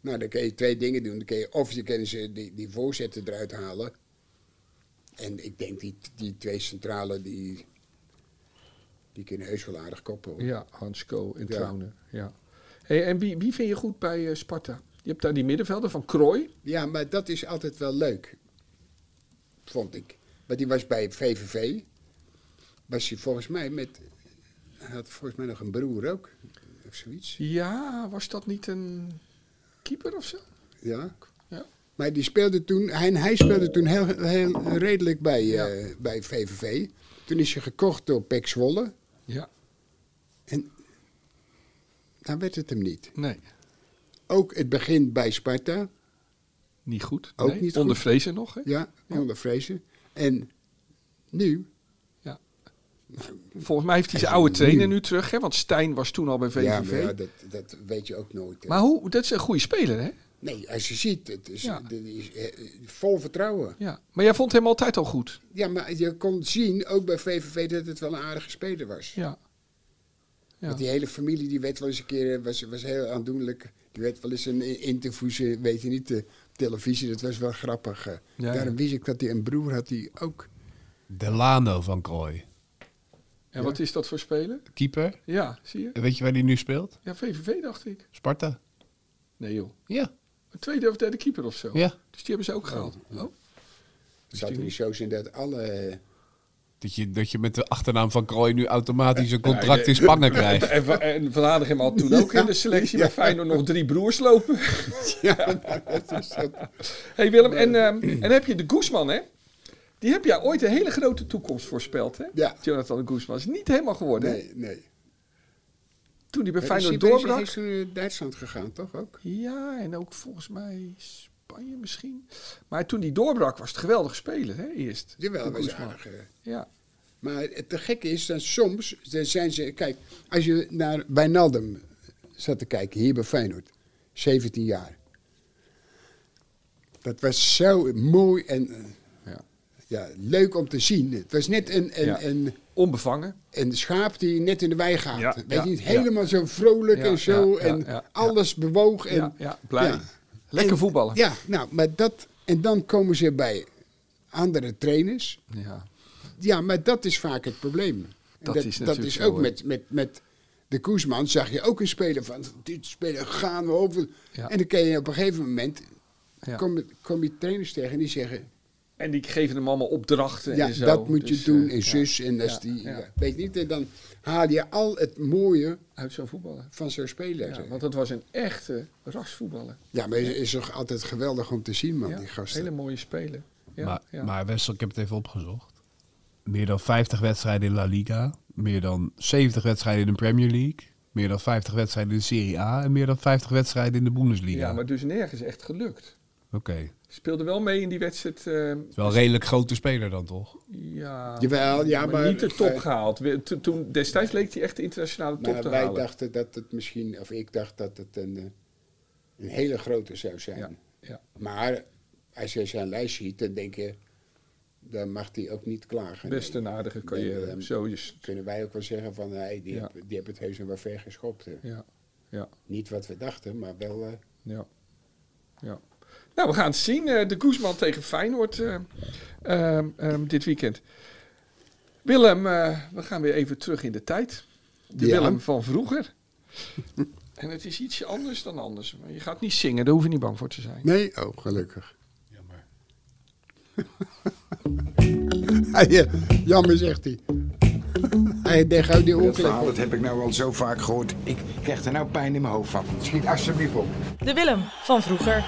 Speaker 1: Nou, dan kun je twee dingen doen. Dan kun je, of je kan ze die, die voorzetten eruit halen. En ik denk die, die twee centralen, die, die kunnen heus wel aardig koppelen.
Speaker 2: Ja, Hansko en
Speaker 1: Ja.
Speaker 2: Trauner. Ja. Hey, en wie, wie vind je goed bij eh, Sparta? Je hebt daar die middenvelder van Krooi.
Speaker 1: Ja, maar dat is altijd wel leuk. Vond ik. Maar die was bij VVV. Was hij volgens mij met... Hij had volgens mij nog een broer ook. Of zoiets.
Speaker 2: Ja, was dat niet een keeper of zo?
Speaker 1: Ja.
Speaker 2: Ja.
Speaker 1: Maar die speelde toen... Hij, hij speelde toen heel, heel redelijk bij, eh, bij VVV. Toen is hij gekocht door Pek Zwolle.
Speaker 2: Ja,
Speaker 1: En daar werd het hem niet.
Speaker 2: nee.
Speaker 1: Ook het begin bij Sparta.
Speaker 2: Niet goed.
Speaker 1: Ook
Speaker 2: nee.
Speaker 1: niet
Speaker 2: Onder
Speaker 1: goed.
Speaker 2: Vrezen nog, hè?
Speaker 1: Ja, onder Vrezen. En nu...
Speaker 2: Ja. Volgens mij heeft hij zijn oude trainer nu terug, hè? Want Stijn was toen al bij VVV.
Speaker 1: Ja, maar
Speaker 2: maar,
Speaker 1: ja, dat, dat weet je ook nooit. hè.
Speaker 2: hoe, dat is een goede speler, hè?
Speaker 1: Nee, als je ziet, het is,
Speaker 2: Ja.
Speaker 1: dit is eh, eh, vol vertrouwen.
Speaker 2: Ja. Maar jij vond hem altijd al goed.
Speaker 1: Ja, maar je kon zien, ook bij VVV, dat het wel een aardige speler was.
Speaker 2: Ja. Ja.
Speaker 1: Want die hele familie, die werd wel eens een keer, eh, was, was heel aandoenlijk. Die werd wel eens een i- interviews, eh, weet je niet, eh, op televisie. Dat was wel grappig. eh.
Speaker 2: ja.
Speaker 1: Daarom wist ik dat hij een broer had die ook...
Speaker 4: Delano van Krooi.
Speaker 2: En wat is dat voor speler?
Speaker 4: Keeper.
Speaker 2: Ja, zie je?
Speaker 4: En Weet je waar die nu speelt?
Speaker 2: Ja, VVV dacht ik.
Speaker 4: Sparta.
Speaker 2: Nee joh.
Speaker 4: Ja.
Speaker 2: Een tweede of derde keeper of zo.
Speaker 4: Ja.
Speaker 2: Dus die hebben ze ook gehaald. Oh.
Speaker 1: Het zou toch niet zo zijn dat alle... eh,
Speaker 4: Dat je, dat je met de achternaam van Krooi nu automatisch een contract in Spangen krijgt.
Speaker 2: En, Va- en Van Aardigem had toen ook in de selectie bij Feyenoord nog drie broers lopen. hey Willem, en, ehm, en heb je de Guzman, hè? Die heb jij ooit een hele grote toekomst voorspeld, hè?
Speaker 1: Ja.
Speaker 2: Jonathan de Guzman. Is niet helemaal geworden, hè?
Speaker 1: nee, nee.
Speaker 2: Toen hij bij
Speaker 1: Maar
Speaker 2: Feyenoord
Speaker 1: Sibelius
Speaker 2: doorbrak.
Speaker 1: is toen naar Duitsland gegaan, toch ook?
Speaker 2: Ja, en ook volgens mij Spanje misschien. Maar toen die doorbrak was het geweldig spelen, hè? Eerst.
Speaker 1: Jawel,
Speaker 2: De
Speaker 1: was
Speaker 2: Guzman.
Speaker 1: aardig. eh.
Speaker 2: Ja.
Speaker 1: Maar het te gekke is dat soms dan zijn ze. Kijk, als je naar Wijnaldum zat te kijken, hier bij Feyenoord, 17 jaar. Dat was zo mooi en eh,
Speaker 2: ja.
Speaker 1: ja, leuk om te zien. Het was net een, een,
Speaker 2: Ja.
Speaker 1: een,
Speaker 2: Onbevangen.
Speaker 1: een schaap die net in de wei gaat.
Speaker 2: Ja,
Speaker 1: Weet
Speaker 2: ja,
Speaker 1: je niet?
Speaker 2: ja.
Speaker 1: Helemaal zo vrolijk
Speaker 2: Ja,
Speaker 1: en zo.
Speaker 2: ja, ja,
Speaker 1: en
Speaker 2: ja, ja.
Speaker 1: alles bewoog. En,
Speaker 2: ja, ja, blij.
Speaker 1: ja.
Speaker 2: Lekker
Speaker 1: En-
Speaker 2: voetballen.
Speaker 1: Ja, nou, maar dat. En dan komen ze bij andere trainers.
Speaker 2: ja.
Speaker 1: Ja, maar dat is vaak het probleem. En
Speaker 2: Dat
Speaker 1: Dat,
Speaker 2: is
Speaker 1: dat,
Speaker 2: natuurlijk
Speaker 1: is
Speaker 2: zo,
Speaker 1: ook
Speaker 2: hè.
Speaker 1: met, met, met de Koesman zag je ook een speler van dit speler gaan we over.
Speaker 2: Ja.
Speaker 1: En dan kan je op een gegeven moment
Speaker 2: Ja.
Speaker 1: kom, kom je trainers tegen en die zeggen
Speaker 2: En die geven hem allemaal opdrachten
Speaker 1: ja
Speaker 2: en zo.
Speaker 1: dat moet
Speaker 2: Dus,
Speaker 1: je doen
Speaker 2: eh,
Speaker 1: en zus en als
Speaker 2: Ja,
Speaker 1: die
Speaker 2: ja.
Speaker 1: ja, weet niet en dan haal je al het mooie
Speaker 2: Uit zo'n voetballer.
Speaker 1: van zo'n speler.
Speaker 2: Ja,
Speaker 1: Ja,
Speaker 2: want dat was een echte rasvoetballer.
Speaker 1: maar het is toch altijd geweldig om te zien man
Speaker 2: Ja,
Speaker 1: Nou, die gasten.
Speaker 2: hele mooie speler. Ja,
Speaker 4: maar,
Speaker 2: ja.
Speaker 4: maar Wessel, ik heb het even opgezocht. Meer dan 50 wedstrijden in La Liga. meer dan 70 wedstrijden in de Premier League. Meer dan 50 wedstrijden in de Serie A. En meer dan 50 wedstrijden in de Bundesliga.
Speaker 2: Ja, maar dus nergens echt gelukt.
Speaker 4: Oké.
Speaker 2: Speelde wel mee in die wedstrijd. eh,
Speaker 4: Is Wel een redelijk grote speler dan toch?
Speaker 2: ja,
Speaker 1: Jawel, ja,
Speaker 2: maar,
Speaker 1: maar...
Speaker 2: niet de top
Speaker 1: maar-
Speaker 2: gehaald. We- to- toen, destijds leek hij echt de internationale top
Speaker 1: Maar
Speaker 2: te
Speaker 1: wij
Speaker 2: halen.
Speaker 1: dachten dat het misschien, of ik dacht dat het een, eh, een hele grote zou zijn.
Speaker 2: Ja, ja.
Speaker 1: Maar als je zijn lijst ziet, dan denk je, dan mag hij ook niet klagen.
Speaker 2: Best
Speaker 1: Nee.
Speaker 2: een aardige
Speaker 1: Nee, ehm,
Speaker 2: carrière.
Speaker 1: dan
Speaker 2: Zo is
Speaker 1: Kunnen wij ook wel zeggen van, hey, die,
Speaker 2: Ja.
Speaker 1: heb, die heb het heus nog wel ver geschopt. hè.
Speaker 2: ja, ja,
Speaker 1: Niet wat we dachten, maar wel... eh,
Speaker 2: ja, ja. Nou, we gaan het zien. Eh, de Guzman tegen Feyenoord eh, ehm, ehm, dit weekend. Willem, eh, we gaan weer even terug in de tijd. De
Speaker 1: Ja.
Speaker 2: Willem van vroeger. en het is ietsje anders dan anders. Maar je gaat niet zingen, daar hoef je niet bang voor te zijn.
Speaker 1: Nee, oh, gelukkig.
Speaker 4: Jammer.
Speaker 1: Hij, eh, Jammer, zegt hij. Hij denkt uit die
Speaker 5: Dat verhaal
Speaker 1: ongeluk.
Speaker 5: dat heb ik nou al zo vaak gehoord. Ik krijg er nou pijn in mijn hoofd van. Schiet alsjeblieft op.
Speaker 3: De Willem van vroeger.
Speaker 6: En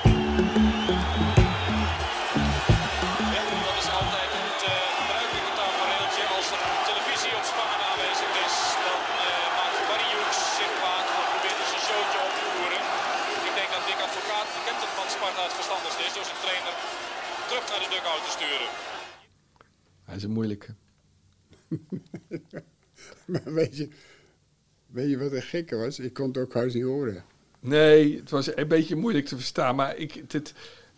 Speaker 6: dat is altijd het eh, gebruikelijke tafereeltje. Als er televisie op Spaan aanwezig is, dan eh, maakt Barry Hoeks zich kwaad of probeert dus een showtje op te voeren. Ik denk dat Dick Advocaat, de captain van Sparta, het verstandigste is door zijn trainer terug naar de dugout te sturen.
Speaker 2: Hij is een moeilijke.
Speaker 1: Maar weet je, weet je wat een gekke was? Ik kon het ook huis niet horen.
Speaker 2: Nee, het was een beetje moeilijk te verstaan. Maar ik, het, het-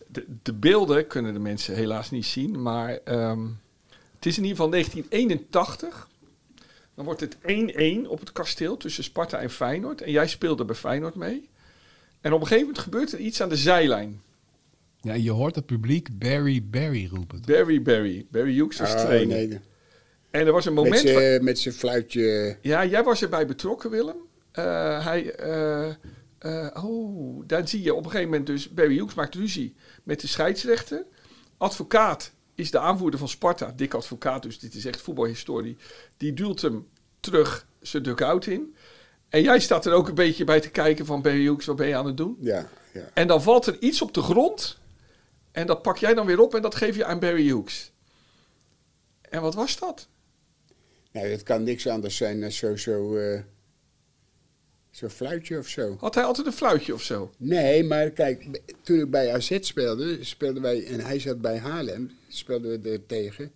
Speaker 2: de, de beelden kunnen de mensen helaas niet zien. Maar ehm, het is in ieder geval 1981. Dan wordt het 1-1 op het kasteel tussen Sparta en Feyenoord. En jij speelde bij Feyenoord mee. En op een gegeven moment gebeurt er iets aan de zijlijn.
Speaker 4: Ja, en je hoort het publiek Barry Barry roepen. toch?
Speaker 2: Barry, Barry. Barry Hughes was
Speaker 1: Oh,
Speaker 2: trainer.
Speaker 1: nee.
Speaker 2: En er was een moment...
Speaker 1: Met
Speaker 2: wa-
Speaker 1: z'n- Met zijn fluitje.
Speaker 2: Ja, jij was erbij betrokken, Willem. Eh, hij, eh, eh, oh, dan zie je op een gegeven moment dus... Barry Hughes maakt ruzie met de scheidsrechter. Advocaat is de aanvoerder van Sparta. Dik advocaat, dus dit is echt voetbalhistorie. Die duwt hem terug zijn dugout in. En jij staat er ook een beetje bij te kijken van... Barry Hughes, wat ben je aan het doen?
Speaker 1: Ja, ja.
Speaker 2: En dan valt er iets op de grond. En dat pak jij dan weer op en dat geef je aan Barry Hughes. En wat was dat?
Speaker 1: Nou, dat kan niks anders zijn dan zo'n zo, eh, zo'n fluitje of zo.
Speaker 2: Had hij altijd een fluitje of zo?
Speaker 1: Nee, maar kijk, b- toen ik bij AZ speelde, speelden wij, en hij zat bij Haarlem, speelden we er tegen.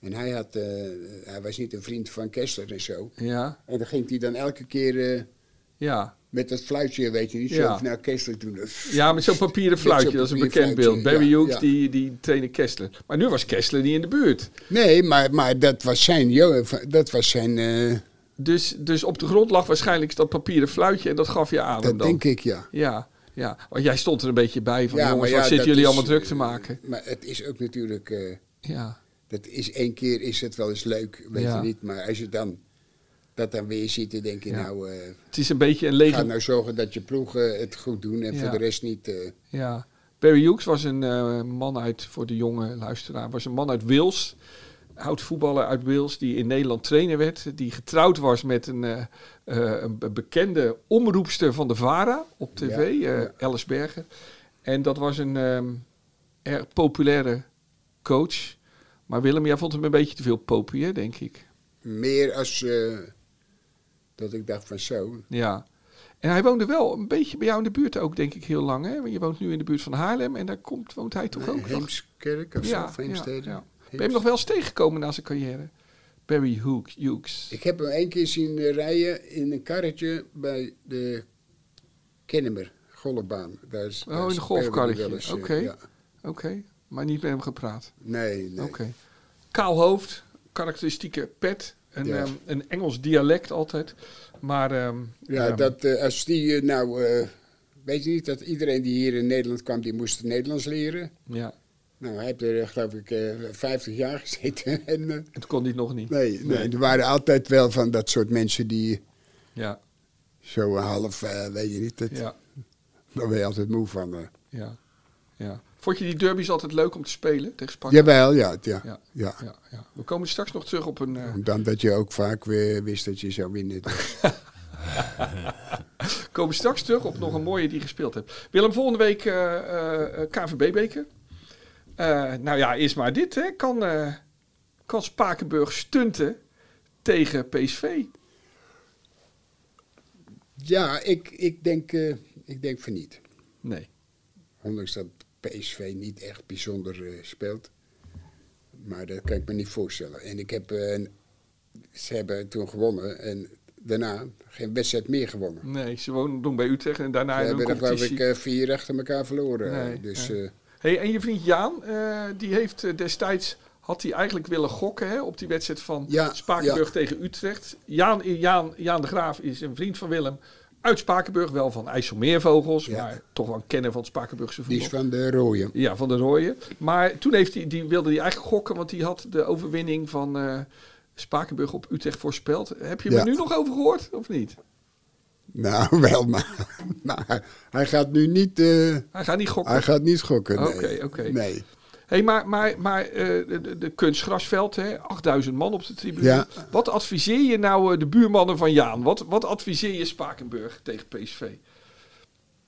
Speaker 1: En hij, had, eh, hij was niet een vriend van Kessler en zo.
Speaker 2: Ja.
Speaker 1: En dan ging hij dan elke keer eh,
Speaker 2: Ja.
Speaker 1: met dat fluitje, weet je niet, zo
Speaker 2: Ja.
Speaker 1: van, nou Kessler doen.
Speaker 2: Ja, met zo'n papieren fluitje, dat is een bekend beeld. Barry
Speaker 1: Hughes
Speaker 2: Hughes, die, die trainde Kessler. Maar nu was Kessler niet in de buurt.
Speaker 1: Nee, maar, maar dat was zijn, jo- dat was zijn, eh,
Speaker 2: Dus, dus op de grond lag waarschijnlijk dat papieren fluitje en dat gaf je aan hem
Speaker 1: dat
Speaker 2: dan.
Speaker 1: denk ik, ja.
Speaker 2: Ja, ja, want jij stond er een beetje bij van, jongens,
Speaker 1: maar
Speaker 2: wat zitten
Speaker 1: dat
Speaker 2: jullie
Speaker 1: is-
Speaker 2: allemaal druk te maken?
Speaker 1: Maar het is ook natuurlijk... eh,
Speaker 2: Ja,
Speaker 1: Dat is één keer is het wel eens leuk, weet
Speaker 2: Ja.
Speaker 1: je niet. Maar als je dan dat dan weer ziet, dan denk je
Speaker 2: Ja.
Speaker 1: nou, eh
Speaker 2: het is een beetje een
Speaker 1: ga
Speaker 2: lege...
Speaker 1: nou zorgen dat je ploegen het goed doen en
Speaker 2: Ja.
Speaker 1: voor de rest niet. eh,
Speaker 2: Ja. Barry Hughes was een eh, man uit, voor de jonge luisteraar, was een man uit Wales. Oud voetballer uit Wales die in Nederland trainer werd. Die getrouwd was met een, eh, eh, een be- bekende omroepster van de VARA op tv, eh Alice Berger. En dat was een ehm, erg populaire coach. Maar Willem, jij vond hem een beetje te veel popie, hè, denk ik.
Speaker 1: meer als eh, dat ik dacht van zo.
Speaker 2: Ja. En hij woonde wel een beetje bij jou in de buurt ook, denk ik, heel lang. Hè? Want je woont nu in de buurt van Haarlem en daar komt, woont hij toch
Speaker 1: Nee,
Speaker 2: ook nog?
Speaker 1: Heemskerk of zo, of Heemstede.
Speaker 2: ja. Ben
Speaker 1: Heems-
Speaker 2: je hem nog wel eens tegengekomen na zijn carrière? Barry Hoek, Hughes.
Speaker 1: Ik heb hem één keer zien eh, rijden in een karretje bij de Kennemer golfbaan. Daar is,
Speaker 2: Oh, in een golfkarretje.
Speaker 1: eh,
Speaker 2: Oké. Oké, maar niet met hem gepraat.
Speaker 1: Nee, nee.
Speaker 2: Oké. Kaal hoofd, karakteristieke pet. Een,
Speaker 1: Ja.
Speaker 2: ehm, een Engels dialect altijd. Maar ehm,
Speaker 1: Ja,
Speaker 2: ehm,
Speaker 1: dat eh, als die eh, nou. eh, weet je niet dat iedereen die hier in Nederland kwam, die moest Nederlands leren?
Speaker 2: ja.
Speaker 1: Nou, hij heeft er eh, geloof ik eh, 50 jaar gezeten. en, eh,
Speaker 2: het kon niet nog niet.
Speaker 1: nee, nee, er waren altijd wel van dat soort mensen die
Speaker 2: Ja,
Speaker 1: zo half, eh, weet je niet, dat,
Speaker 2: ja,
Speaker 1: daar ben je altijd moe van. eh.
Speaker 2: ja, ja. Vond je die derbies altijd leuk om te spelen tegen Sparta?
Speaker 1: Jawel, ja, ja,
Speaker 2: Ja.
Speaker 1: ja.
Speaker 2: Ja, ja. We komen straks nog terug op een... eh,
Speaker 1: Dan dat je ook vaak weer wist dat je zou winnen.
Speaker 2: Komen straks terug op nog een mooie die je gespeeld hebt. Willem, volgende week eh, eh, eh, KVB-beker. Eh, nou ja, eerst maar dit. Hè. Kan, eh kan Spakenburg stunten tegen PSV.
Speaker 1: Ja, ik, ik, denk, eh, ik denk van niet.
Speaker 2: Nee.
Speaker 1: Ondanks dat PSV niet echt bijzonder eh, speelt. Maar dat kan ik me niet voorstellen. En ik heb, eh, een- ze hebben toen gewonnen en daarna geen wedstrijd meer gewonnen.
Speaker 2: Nee, ze wonen doen bij Utrecht en daarna
Speaker 1: We
Speaker 2: in een
Speaker 1: hebben er geloof
Speaker 2: competitie.
Speaker 1: ik eh, vier achter elkaar verloren.
Speaker 2: Nee,
Speaker 1: eh, dus
Speaker 2: ja.
Speaker 1: eh,
Speaker 2: Hey, en je vriend Jaan, eh, die heeft eh, destijds, had hij eigenlijk willen gokken hè, op die wedstrijd van
Speaker 1: Ja,
Speaker 2: Spakenburg
Speaker 1: ja.
Speaker 2: tegen Utrecht. Jaan, eh, Jaan, Jaan de Graaf is een vriend van Willem uit Spakenburg, wel van IJsselmeervogels,
Speaker 1: Ja.
Speaker 2: maar toch wel een kenner van het Spakenburgse
Speaker 1: die
Speaker 2: voetbal.
Speaker 1: is van de rode.
Speaker 2: Ja, van de Rooien. Maar toen heeft hij, die wilde hij eigenlijk gokken, want die had de overwinning van eh, Spakenburg op Utrecht voorspeld. Heb je
Speaker 1: Ja.
Speaker 2: er nu nog over gehoord, of niet?
Speaker 1: Nou, wel, maar, maar hij gaat nu niet, eh,
Speaker 2: Hij gaat niet gokken.
Speaker 1: hij gaat niet schokken. Nee.
Speaker 2: Oké, oké.
Speaker 1: Nee.
Speaker 2: Hey, maar maar, maar eh, de- de, de kunstgrasveld, hè? 8000 man op de tribune.
Speaker 1: Ja.
Speaker 2: Wat adviseer je nou eh, de buurmannen van Jaan? Wat, wat adviseer je Spakenburg tegen PSV?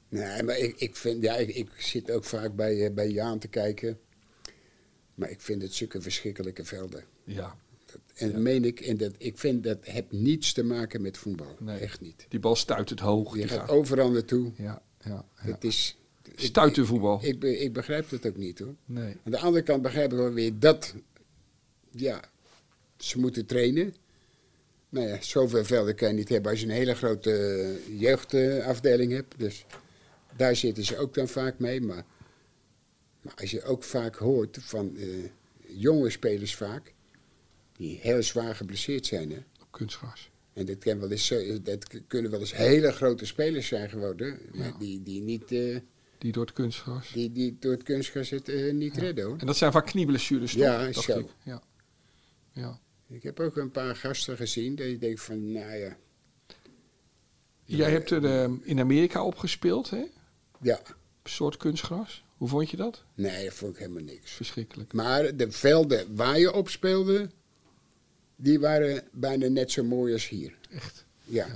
Speaker 1: Nee, maar ik, ik vind, ja, ik, ik zit ook vaak bij, eh, bij Jaan te kijken. Maar ik vind het zulke verschrikkelijke velden.
Speaker 2: Ja,
Speaker 1: En dat meen ik, en dat, ik vind dat heeft niets te maken met voetbal.
Speaker 2: Nee.
Speaker 1: Echt niet.
Speaker 2: die bal stuit het hoog.
Speaker 1: Je
Speaker 2: die
Speaker 1: gaat
Speaker 2: gaat-
Speaker 1: overal naartoe.
Speaker 2: Ja, ja, ja.
Speaker 1: Het is... ik-
Speaker 2: Stuitervoetbal.
Speaker 1: Ik, be- ik begrijp dat ook niet hoor.
Speaker 2: Nee.
Speaker 1: Aan de andere kant begrijp ik wel weer dat, ja, ze moeten trainen. Nou ja, zoveel velden kan je niet hebben als je een hele grote eh, jeugdafdeling hebt. Dus daar zitten ze ook dan vaak mee. Maar, maar als je ook vaak hoort van eh, jonge spelers vaak, die heel zwaar geblesseerd zijn. Hè?
Speaker 2: Op kunstgras.
Speaker 1: En dat, kan wel eens, zo- dat kunnen wel eens hele grote spelers zijn geworden, maar die, die, niet, eh,
Speaker 2: Die door het kunstgras.
Speaker 1: die, die door het kunstgras het eh, niet redden hoor.
Speaker 2: En dat zijn vaak knieblessures, toch?
Speaker 1: Ja,
Speaker 2: dacht
Speaker 1: zo.
Speaker 2: ik. Ja. Ja.
Speaker 1: Ik heb ook een paar gasten gezien dat je denkt van, nou ja,
Speaker 2: Jij hebt er eh, in Amerika opgespeeld, hè?
Speaker 1: ja,
Speaker 2: Een soort kunstgras. Hoe vond je dat?
Speaker 1: nee, dat vond ik helemaal niks.
Speaker 2: Verschrikkelijk.
Speaker 1: Maar de velden waar je op speelde, die waren bijna net zo mooi als hier.
Speaker 2: Echt.
Speaker 1: Ja.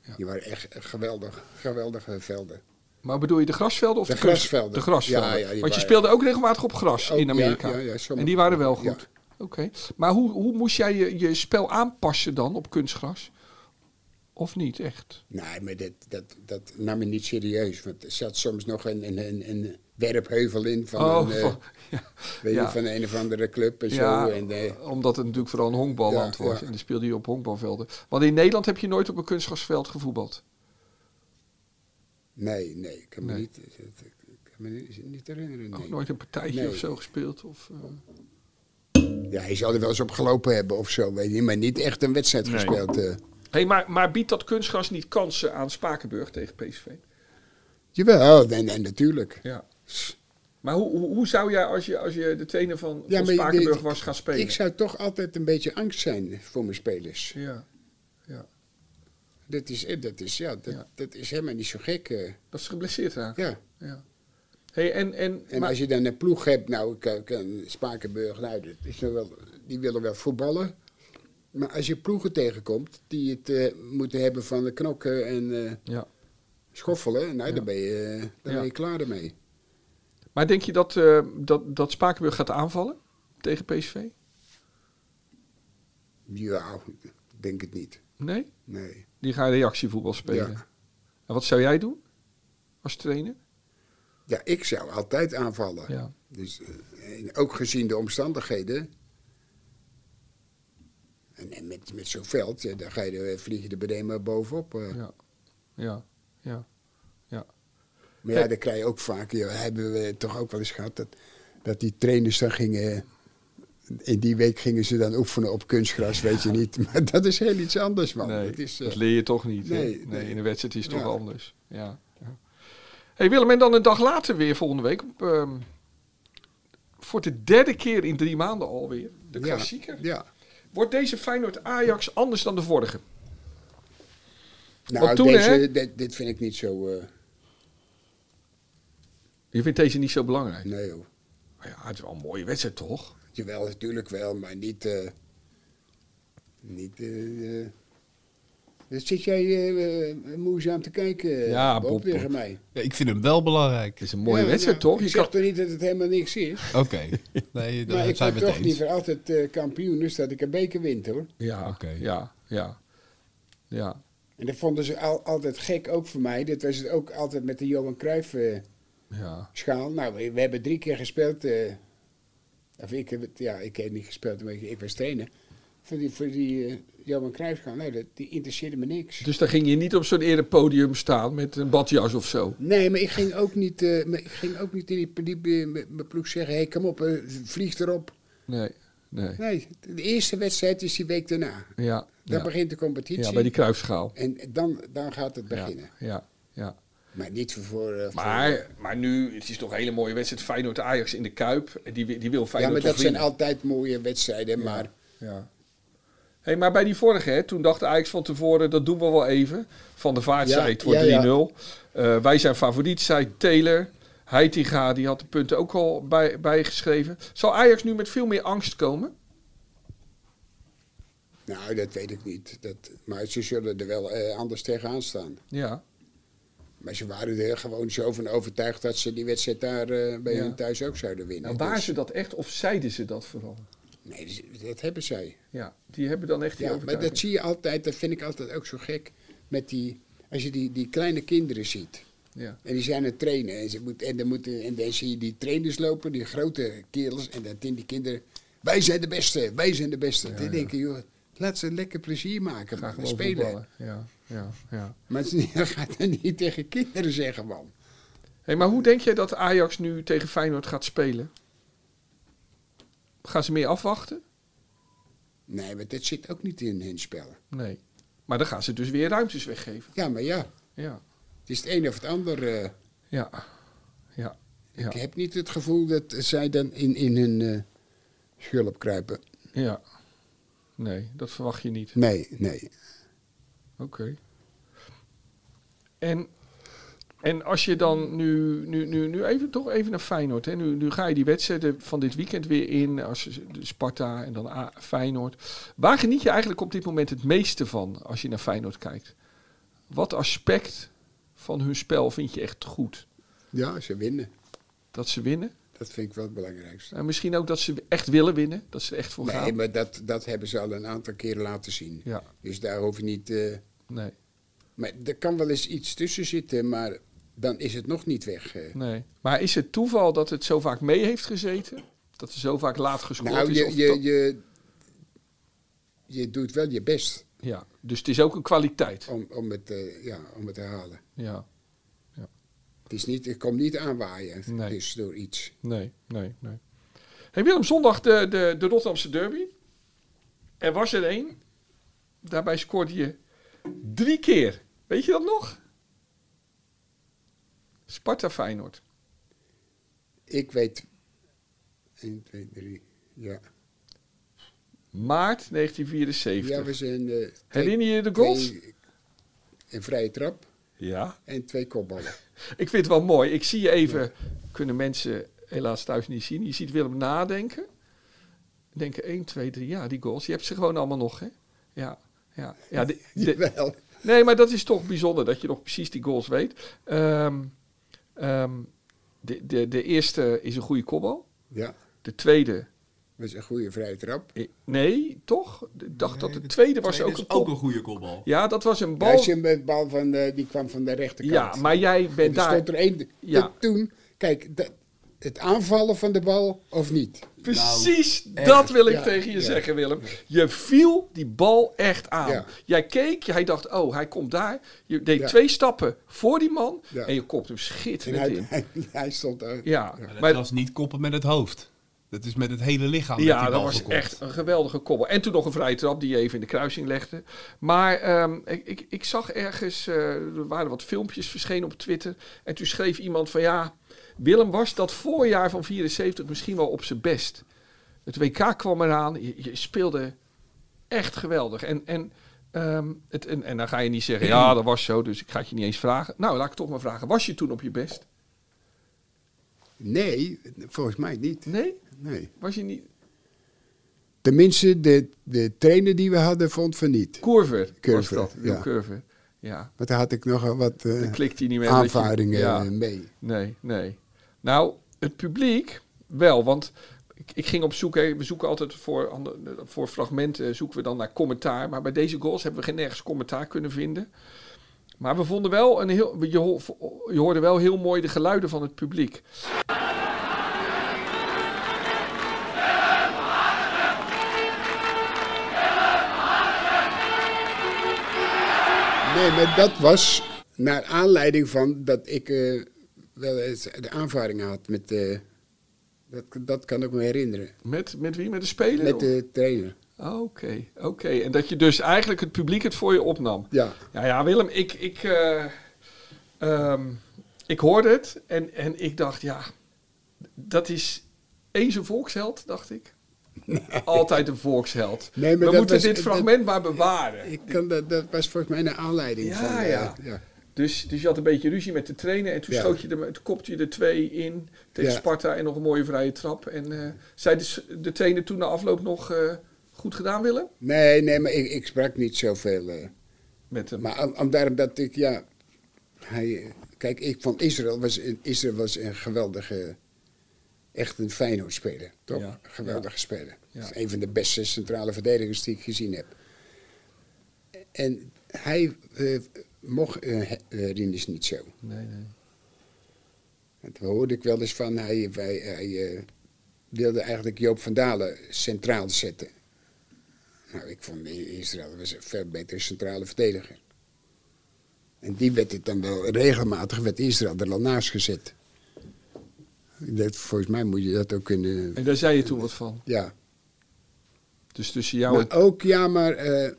Speaker 2: ja.
Speaker 1: Die waren echt geweldig, geweldige velden.
Speaker 2: Maar bedoel je de grasvelden of de,
Speaker 1: De
Speaker 2: kunst-
Speaker 1: grasvelden.
Speaker 2: De grasvelden.
Speaker 1: Ja, ja, die
Speaker 2: Want je
Speaker 1: waren-
Speaker 2: speelde ook regelmatig op gras
Speaker 1: Ook,
Speaker 2: in
Speaker 1: ja,
Speaker 2: Amerika.
Speaker 1: ja, ja, sommige-
Speaker 2: en die waren wel goed.
Speaker 1: ja.
Speaker 2: Oké. Maar hoe, hoe moest jij je, je spel aanpassen dan op kunstgras? Of niet echt?
Speaker 1: Nee, maar dat, dat, dat nam ik niet serieus. Want er zat soms nog een, een, een, een werpheuvel in van,
Speaker 2: oh,
Speaker 1: een, eh,
Speaker 2: van- ja.
Speaker 1: weet je,
Speaker 2: ja.
Speaker 1: van een of andere club en
Speaker 2: Ja,
Speaker 1: zo. En, eh,
Speaker 2: omdat het natuurlijk vooral een honkballand
Speaker 1: Ja,
Speaker 2: was.
Speaker 1: ja.
Speaker 2: En dan speelde je op honkbalvelden. Want in Nederland heb je nooit op een kunstgrasveld gevoetbald.
Speaker 1: nee, nee, ik kan me,
Speaker 2: Nee.
Speaker 1: Niet, ik kan me niet, niet herinneren.
Speaker 2: Ook
Speaker 1: nee.
Speaker 2: nooit een partijtje
Speaker 1: Nee.
Speaker 2: of zo gespeeld. Of, eh,
Speaker 1: Ja, hij zou er wel eens op gelopen hebben of zo, weet je. Maar niet echt een wedstrijd
Speaker 2: Nee.
Speaker 1: gespeeld. eh.
Speaker 2: Hey, maar, maar biedt dat kunstgras niet kansen aan Spakenburg tegen PSV?
Speaker 1: Jawel, nee, nee, natuurlijk.
Speaker 2: Ja. Maar hoe, hoe, hoe zou jij, als je, als je de trainer van,
Speaker 1: Ja,
Speaker 2: van
Speaker 1: maar
Speaker 2: Spakenburg
Speaker 1: dit-
Speaker 2: was gaan spelen?
Speaker 1: Ik zou toch altijd een beetje angst zijn voor mijn spelers.
Speaker 2: Ja, ja.
Speaker 1: Dat is, eh, dat is, ja, dat,
Speaker 2: Ja.
Speaker 1: dat is helemaal niet zo gek. eh.
Speaker 2: Dat is geblesseerd raken.
Speaker 1: ja.
Speaker 2: Ja. Hey, en, en,
Speaker 1: En
Speaker 2: maar-
Speaker 1: als je dan een ploeg hebt, nou, ik, ik- een Spakenburg, nou, dat is nou wel, die willen wel voetballen. Maar als je ploegen tegenkomt die het eh, moeten hebben van de knokken en eh,
Speaker 2: ja.
Speaker 1: schoffelen, nou,
Speaker 2: Ja.
Speaker 1: dan, ben je, eh, dan
Speaker 2: Ja.
Speaker 1: ben je klaar ermee.
Speaker 2: maar denk je dat, eh, dat, dat Spakenburg gaat aanvallen tegen PSV?
Speaker 1: Ja, ik denk het niet.
Speaker 2: Nee?
Speaker 1: Nee.
Speaker 2: Die gaan reactievoetbal spelen.
Speaker 1: Ja.
Speaker 2: En wat zou jij doen als trainer?
Speaker 1: Ja, ik zou altijd aanvallen.
Speaker 2: Ja.
Speaker 1: Dus, eh, en ook gezien de omstandigheden. En, en met, met zo'n veld, eh, dan ga je, er- vlieg je er beneden maar bovenop. eh.
Speaker 2: Ja. Ja. ja.
Speaker 1: Maar ja, dan krijg je ook vaak, ja, hebben we toch ook wel eens gehad, dat, dat die trainers dan gingen... In die week gingen ze dan oefenen op kunstgras, weet je niet. Maar dat is heel iets anders, man.
Speaker 2: nee,
Speaker 1: dat is, eh,
Speaker 2: leer je toch niet. hè?
Speaker 1: nee,
Speaker 2: nee,
Speaker 1: nee.
Speaker 2: in de wedstrijd is het
Speaker 1: Ja.
Speaker 2: toch anders. Ja. ja. Hey Willem, en dan een dag later weer volgende week. Op, ehm, voor de derde keer in drie maanden alweer. De
Speaker 1: ja,
Speaker 2: klassieker.
Speaker 1: Ja.
Speaker 2: Wordt deze Feyenoord-Ajax anders dan de vorige?
Speaker 1: Nou,
Speaker 2: toen, hè?
Speaker 1: deze, dit, dit vind ik niet zo... eh,
Speaker 2: Je vindt deze niet zo belangrijk?
Speaker 1: nee, hoor.
Speaker 2: Maar ja, het is wel een mooie wedstrijd toch?
Speaker 1: Jawel, natuurlijk wel, maar niet. eh, niet eh, eh, Dat zit jij eh, eh, moeizaam te kijken, eh,
Speaker 2: Ja,
Speaker 1: Bob,
Speaker 2: Bob,
Speaker 1: tegen
Speaker 2: Bob.
Speaker 1: mij.
Speaker 4: Ja, ik vind hem wel belangrijk.
Speaker 2: Het is een mooie
Speaker 1: Ja,
Speaker 2: wedstrijd,
Speaker 1: nou,
Speaker 2: toch?
Speaker 1: Ik
Speaker 2: Je
Speaker 1: zeg
Speaker 2: kan...
Speaker 1: toch niet dat het helemaal niks is?
Speaker 4: Oké. Nee, daar
Speaker 1: maar ik
Speaker 4: zijn
Speaker 1: ben
Speaker 4: we het
Speaker 1: toch
Speaker 4: eens.
Speaker 1: liever altijd eh, kampioen, dus dat ik een beker wint, hoor.
Speaker 2: Ja,
Speaker 4: Oké.
Speaker 2: ja, ja. Ja,
Speaker 1: En dat vonden ze al, altijd gek, ook voor mij. Dat was het ook altijd met de Johan Cruijff... eh,
Speaker 2: ja.
Speaker 1: schaal. Nou, we, we hebben drie keer gespeeld. eh, of ik heb het, ja, ik heb niet gespeeld, maar ik, ik was trainer. Voor die, voor die eh, Johan Cruijffschaal. Nou, dat, die interesseerde me niks.
Speaker 2: Dus daar ging je niet op zo'n erepodium staan met een badjas of zo.
Speaker 1: Nee, maar ik ging ook niet, eh, maar ik ging ook niet in die, die, die- met mijn ploeg zeggen: hé, hey, kom op, eh, vlieg erop.
Speaker 2: Nee, nee.
Speaker 1: Nee, de eerste wedstrijd is die week daarna.
Speaker 2: Ja,
Speaker 1: Dan
Speaker 2: ja.
Speaker 1: begint de competitie.
Speaker 2: ja bij die kruifschaal.
Speaker 1: En dan, dan gaat het
Speaker 2: Ja,
Speaker 1: beginnen.
Speaker 2: ja, ja.
Speaker 1: Maar niet voor. voor eh, voor-
Speaker 2: Maar, maar nu, het is toch een hele mooie wedstrijd. Feyenoord-Ajax in de Kuip. En Die, wi- die wil
Speaker 1: ja,
Speaker 2: Feyenoord
Speaker 1: maar
Speaker 2: toch
Speaker 1: dat zijn
Speaker 2: winnen.
Speaker 1: altijd mooie wedstrijden. Maar
Speaker 2: Ja. Hey, maar bij die vorige, hè, toen dacht Ajax van tevoren, dat doen we wel even. Van de Vaart
Speaker 1: Ja,
Speaker 2: zei, het wordt
Speaker 1: ja, ja.
Speaker 2: 3-0. Eh, wij zijn favoriet, zei Taylor. Heitinga, die had de punten ook al bij, bijgeschreven. Zal Ajax nu met veel meer angst komen?
Speaker 1: Nou, dat weet ik niet. Dat, maar ze zullen er wel eh, anders tegenaan staan.
Speaker 2: Ja,
Speaker 1: Maar ze waren er gewoon zo van overtuigd dat ze die wedstrijd daar eh, bij
Speaker 2: Ja.
Speaker 1: hun thuis ook zouden winnen.
Speaker 2: nou, waren
Speaker 1: Dus-
Speaker 2: ze dat echt of zeiden ze dat vooral?
Speaker 1: Nee, dus dat hebben zij.
Speaker 2: Ja, die hebben dan echt die
Speaker 1: Ja, maar
Speaker 2: overtuiging.
Speaker 1: dat zie je altijd, dat vind ik altijd ook zo gek. Met die, als je die, die kleine kinderen ziet.
Speaker 2: Ja.
Speaker 1: En die zijn aan het trainen. En, ze moet, en, dan moeten, en dan zie je die trainers lopen, die grote kerels. En dan denken die kinderen, wij zijn de beste, wij zijn de beste. die denken, joh, laat ze lekker plezier maken.
Speaker 2: Graag
Speaker 1: Ga
Speaker 2: gewoon
Speaker 1: spelen.
Speaker 2: voetballen. Ja, ja, ja.
Speaker 1: Maar ze- je gaat dat niet tegen kinderen zeggen, man.
Speaker 2: Hey, maar hoe denk jij dat Ajax nu tegen Feyenoord gaat spelen? Gaan ze meer afwachten?
Speaker 1: Nee, maar dat zit ook niet in hun spel.
Speaker 2: Nee. Maar dan gaan ze dus weer ruimtes weggeven.
Speaker 1: Ja, maar ja,
Speaker 2: Ja.
Speaker 1: het is het een of het ander. eh.
Speaker 2: Ja. Ja. Ja.
Speaker 1: Ik heb niet het gevoel dat zij dan in, in hun eh schulp kruipen.
Speaker 2: Ja. Nee, dat verwacht je niet.
Speaker 1: Nee, nee.
Speaker 2: Oké. En, en als je dan nu, nu, nu, nu even, toch even naar Feyenoord. Hè? Nu, nu ga je die wedstrijden van dit weekend weer in. Als de Sparta en dan A- Feyenoord. Waar geniet je eigenlijk op dit moment het meeste van als je naar Feyenoord kijkt? Wat aspect van hun spel vind je echt goed?
Speaker 1: Ja, ze winnen.
Speaker 2: Dat ze winnen?
Speaker 1: Dat vind ik wel het belangrijkste.
Speaker 2: En misschien ook dat ze echt willen winnen? Dat ze er echt voor
Speaker 1: Nee,
Speaker 2: gaan?
Speaker 1: maar dat, dat hebben ze al een aantal keren laten zien.
Speaker 2: Ja,
Speaker 1: Dus daar hoef je niet. eh,
Speaker 2: nee.
Speaker 1: maar er kan wel eens iets tussen zitten, maar dan is het nog niet weg. eh.
Speaker 2: Nee. Maar is het toeval dat het zo vaak mee heeft gezeten? Dat er zo vaak laat gescoord
Speaker 1: Nou,
Speaker 2: is? of
Speaker 1: je, je,
Speaker 2: dat-
Speaker 1: je, je doet wel je best
Speaker 2: Ja, dus het is ook een kwaliteit.
Speaker 1: om, om, het, eh, ja, om het te halen.
Speaker 2: Ja,
Speaker 1: Het is niet, ik kom niet aanwaaien.
Speaker 2: Nee.
Speaker 1: Dus door iets.
Speaker 2: nee, nee, nee. Hey Willem, zondag de, de, de Rotterdamse derby. Er was er één. Daarbij scoorde je drie keer. Weet je dat nog? Sparta-Feyenoord.
Speaker 1: Ik weet. 1, 2, 3. Ja.
Speaker 2: Maart 1974.
Speaker 1: Ja, we zijn. eh, twee-
Speaker 2: Herinner je de goals?
Speaker 1: twee- Een vrije trap
Speaker 2: Ja.
Speaker 1: en twee kopballen.
Speaker 2: Ik vind het wel mooi. Ik zie je even, kunnen mensen helaas thuis niet zien. Je ziet Willem nadenken. Denken 1, 2, 3, ja, die goals. Je hebt ze gewoon allemaal nog, hè? Ja, ja. ja de- de-
Speaker 1: Jawel.
Speaker 2: nee, maar dat is toch bijzonder dat je nog precies die goals weet. Ehm, ehm, de, de, de eerste is een goede kopbal.
Speaker 1: Ja,
Speaker 2: De tweede,
Speaker 1: dat is een goede vrije trap.
Speaker 2: eh, nee, toch? Ik dacht dat de tweede was ook een kop.
Speaker 4: goede kopbal.
Speaker 2: Ja, dat was een
Speaker 1: Ja,
Speaker 2: bal.
Speaker 1: als je hem met bal van de, die kwam van de rechterkant.
Speaker 2: Ja, maar jij
Speaker 1: en
Speaker 2: bent
Speaker 1: daar
Speaker 2: daar.
Speaker 1: stond er één.
Speaker 2: Ja.
Speaker 1: dat Toen, kijk, dat, het aanvallen van de bal of niet?
Speaker 2: Precies dat wil ik
Speaker 1: Nou, Ja,
Speaker 2: tegen je
Speaker 1: ja.
Speaker 2: zeggen, Willem. Je viel die bal echt aan.
Speaker 1: Ja.
Speaker 2: Jij keek, hij dacht, oh, hij komt daar. Je deed
Speaker 1: Ja.
Speaker 2: twee stappen voor die man
Speaker 1: Ja.
Speaker 2: en je kopt hem
Speaker 1: En
Speaker 2: schitterend
Speaker 1: hij,
Speaker 2: in.
Speaker 1: hij, hij stond daar.
Speaker 2: Ja,
Speaker 4: Dat
Speaker 2: maar
Speaker 4: was niet koppen met het hoofd. Dat is met het hele lichaam. dat,
Speaker 2: ja,
Speaker 4: die
Speaker 2: dat
Speaker 4: bal
Speaker 2: was
Speaker 4: gekopt.
Speaker 2: echt een geweldige kobbel. En toen nog een vrije trap die je even in de kruising legde. Maar ehm, ik, ik, ik zag ergens, eh, er waren wat filmpjes verschenen op Twitter. En toen schreef iemand van ja, Willem was dat voorjaar van 74 misschien wel op zijn best. Het WK kwam eraan, je, je speelde echt geweldig. En, en, ehm, het, en, en dan ga je niet zeggen, ja dat was zo, dus ik ga het je niet eens vragen. Nou, laat ik toch maar vragen, was je toen op je best?
Speaker 1: Nee, volgens mij niet.
Speaker 2: Nee?
Speaker 1: Nee.
Speaker 2: Was je niet...
Speaker 1: Tenminste, de, de trainer die we hadden vond van niet.
Speaker 2: Curver, was
Speaker 1: Curver,
Speaker 2: dat. Wil
Speaker 1: ja.
Speaker 2: Curver. Ja,
Speaker 1: Want daar had ik nogal wat eh,
Speaker 2: dan klikt hij niet meer. dat je-
Speaker 1: aanvaringen
Speaker 2: ja.
Speaker 1: eh, mee.
Speaker 2: Nee, nee. Nou, het publiek wel, want ik, ik ging op zoek. Hè, we zoeken altijd voor, ander- voor fragmenten, eh, zoeken we dan naar commentaar. Maar bij deze goals hebben we geen nergens commentaar kunnen vinden. Maar we vonden wel een heel. Je, ho- je hoorde wel heel mooi de geluiden van het publiek.
Speaker 1: Nee, maar dat was naar aanleiding van dat ik eh, wel eens de aanvaring had met... eh, dat, dat kan ik me herinneren.
Speaker 2: Met, met wie? Met de speler?
Speaker 1: Met de trainer.
Speaker 2: Oké, oké. En dat je dus eigenlijk het publiek het voor je opnam.
Speaker 1: Ja.
Speaker 2: Ja, ja, Willem, ik, ik, eh, ehm, ik hoorde het en, en ik dacht, ja, dat is eens een volksheld, dacht ik. Altijd een volksheld.
Speaker 1: Nee, maar
Speaker 2: We
Speaker 1: dat
Speaker 2: moeten
Speaker 1: was-
Speaker 2: dit
Speaker 1: dat-
Speaker 2: fragment maar bewaren.
Speaker 1: Ik kan dat, dat was volgens mij een aanleiding
Speaker 2: Ja,
Speaker 1: van... eh,
Speaker 2: ja.
Speaker 1: ja.
Speaker 2: Dus, dus je had een beetje ruzie met de trainer en toen
Speaker 1: Ja.
Speaker 2: schoot je er, toen kopte je er twee in tegen
Speaker 1: Ja.
Speaker 2: Sparta en nog een mooie vrije trap. En eh, zei de, s- de trainer toen na afloop nog eh, goed gedaan, Willem?
Speaker 1: Nee, nee, maar ik, ik sprak niet zoveel. eh.
Speaker 2: Met hem.
Speaker 1: Maar om- om daarom dat ik, ja... Hij, eh, kijk, ik vond Israël was, een- Israël was een geweldige... Echt een Feyenoord-speler, toch?
Speaker 2: Ja.
Speaker 1: Geweldige speler.
Speaker 2: Ja.
Speaker 1: Dat is Een van de beste centrale verdedigers die ik gezien heb. En hij eh, mocht eh eh, Rinus niet zo.
Speaker 2: Nee, nee.
Speaker 1: Want Daar hoorde ik wel eens van, hij, hij, hij eh, wilde eigenlijk Joop van Dalen centraal zetten. Nou, ik vond I- Israël was een veel betere centrale verdediger. En die werd het dan wel regelmatig, werd Israël er al naast gezet. Dat, volgens mij moet je dat ook kunnen.
Speaker 2: En daar zei je toen wat van.
Speaker 1: Ja.
Speaker 2: Dus tussen jou en...
Speaker 1: Maar ook, ja, maar. eh,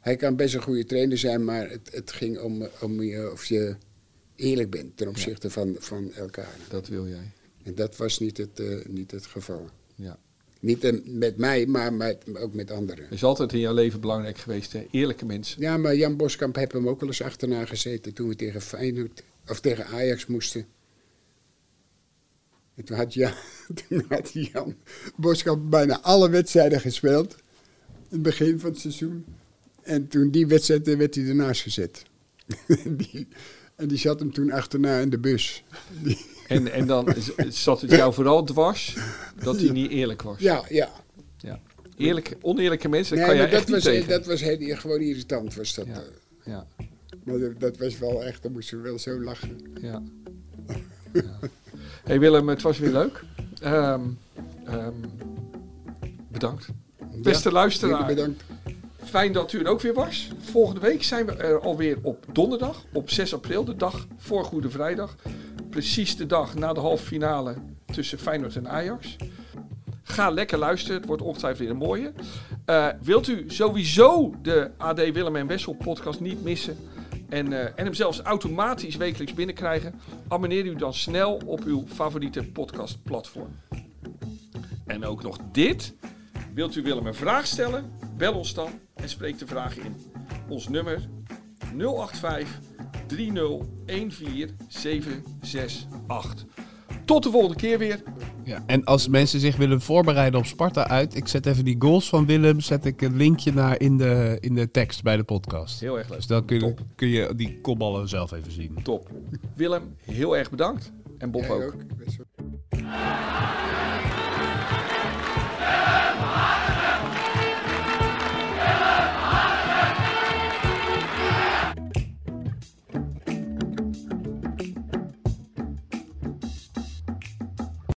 Speaker 1: hij kan best een goede trainer zijn, maar het, het ging om, om je, of je eerlijk bent ten opzichte van, van elkaar.
Speaker 2: Dat wil jij.
Speaker 1: En dat was niet het, eh, niet het geval.
Speaker 2: Ja.
Speaker 1: Niet eh, met mij, maar met, ook met anderen.
Speaker 2: Is altijd in jouw leven belangrijk geweest, hè? Eerlijke mensen.
Speaker 1: Ja, maar Jan Boskamp heeft hem ook wel eens achterna gezeten toen we tegen Feyenoord of tegen Ajax moesten. En toen had Jan, toen had Jan Boskamp bijna alle wedstrijden gespeeld. In het begin van het seizoen. En toen die wedstrijd eh, werd hij ernaast gezet. die, en die zat hem toen achterna in de bus. Die-
Speaker 2: En, en dan z- zat het jou vooral dwars dat hij niet eerlijk was.
Speaker 1: ja, ja.
Speaker 2: Ja. Eerlijke, oneerlijke mensen, daar
Speaker 1: Nee,
Speaker 2: kan
Speaker 1: maar
Speaker 2: je echt
Speaker 1: dat
Speaker 2: niet
Speaker 1: was,
Speaker 2: tegen.
Speaker 1: dat was heel, gewoon irritant was dat.
Speaker 2: Ja.
Speaker 1: eh.
Speaker 2: Ja.
Speaker 1: Maar dat- dat was wel echt, dan moesten we wel zo lachen.
Speaker 2: Ja. Ja. hey Willem, het was weer leuk. Ehm, ehm, bedankt. Beste
Speaker 1: Jullie
Speaker 2: luisteraar.
Speaker 1: bedankt.
Speaker 2: Fijn dat u er ook weer was. Volgende week zijn we er alweer op donderdag, op 6 april, de dag voor Goede Vrijdag. Precies de dag na de halve finale tussen Feyenoord en Ajax. Ga lekker luisteren, het wordt ongetwijfeld weer een mooie. Eh, wilt u sowieso de AD Willem en Wessel podcast niet missen en, eh, en hem zelfs automatisch wekelijks binnenkrijgen? Abonneer u dan snel op uw favoriete podcastplatform. En ook nog dit. Wilt u Willem een vraag stellen? Bel ons dan en spreek de vraag in. Ons nummer 085 3014768. Tot de volgende keer weer.
Speaker 4: Ja, en als mensen zich willen voorbereiden op Sparta uit, ik zet even die goals van Willem, zet ik een linkje naar in de, in de tekst bij de podcast.
Speaker 2: Heel erg leuk.
Speaker 4: Dus dan kun je,
Speaker 2: Top.
Speaker 4: kun je die kopballen zelf even zien.
Speaker 2: Top. Willem, heel erg bedankt. En Bob
Speaker 1: Jij
Speaker 2: ook.
Speaker 1: ook. Best wel.
Speaker 6: Willem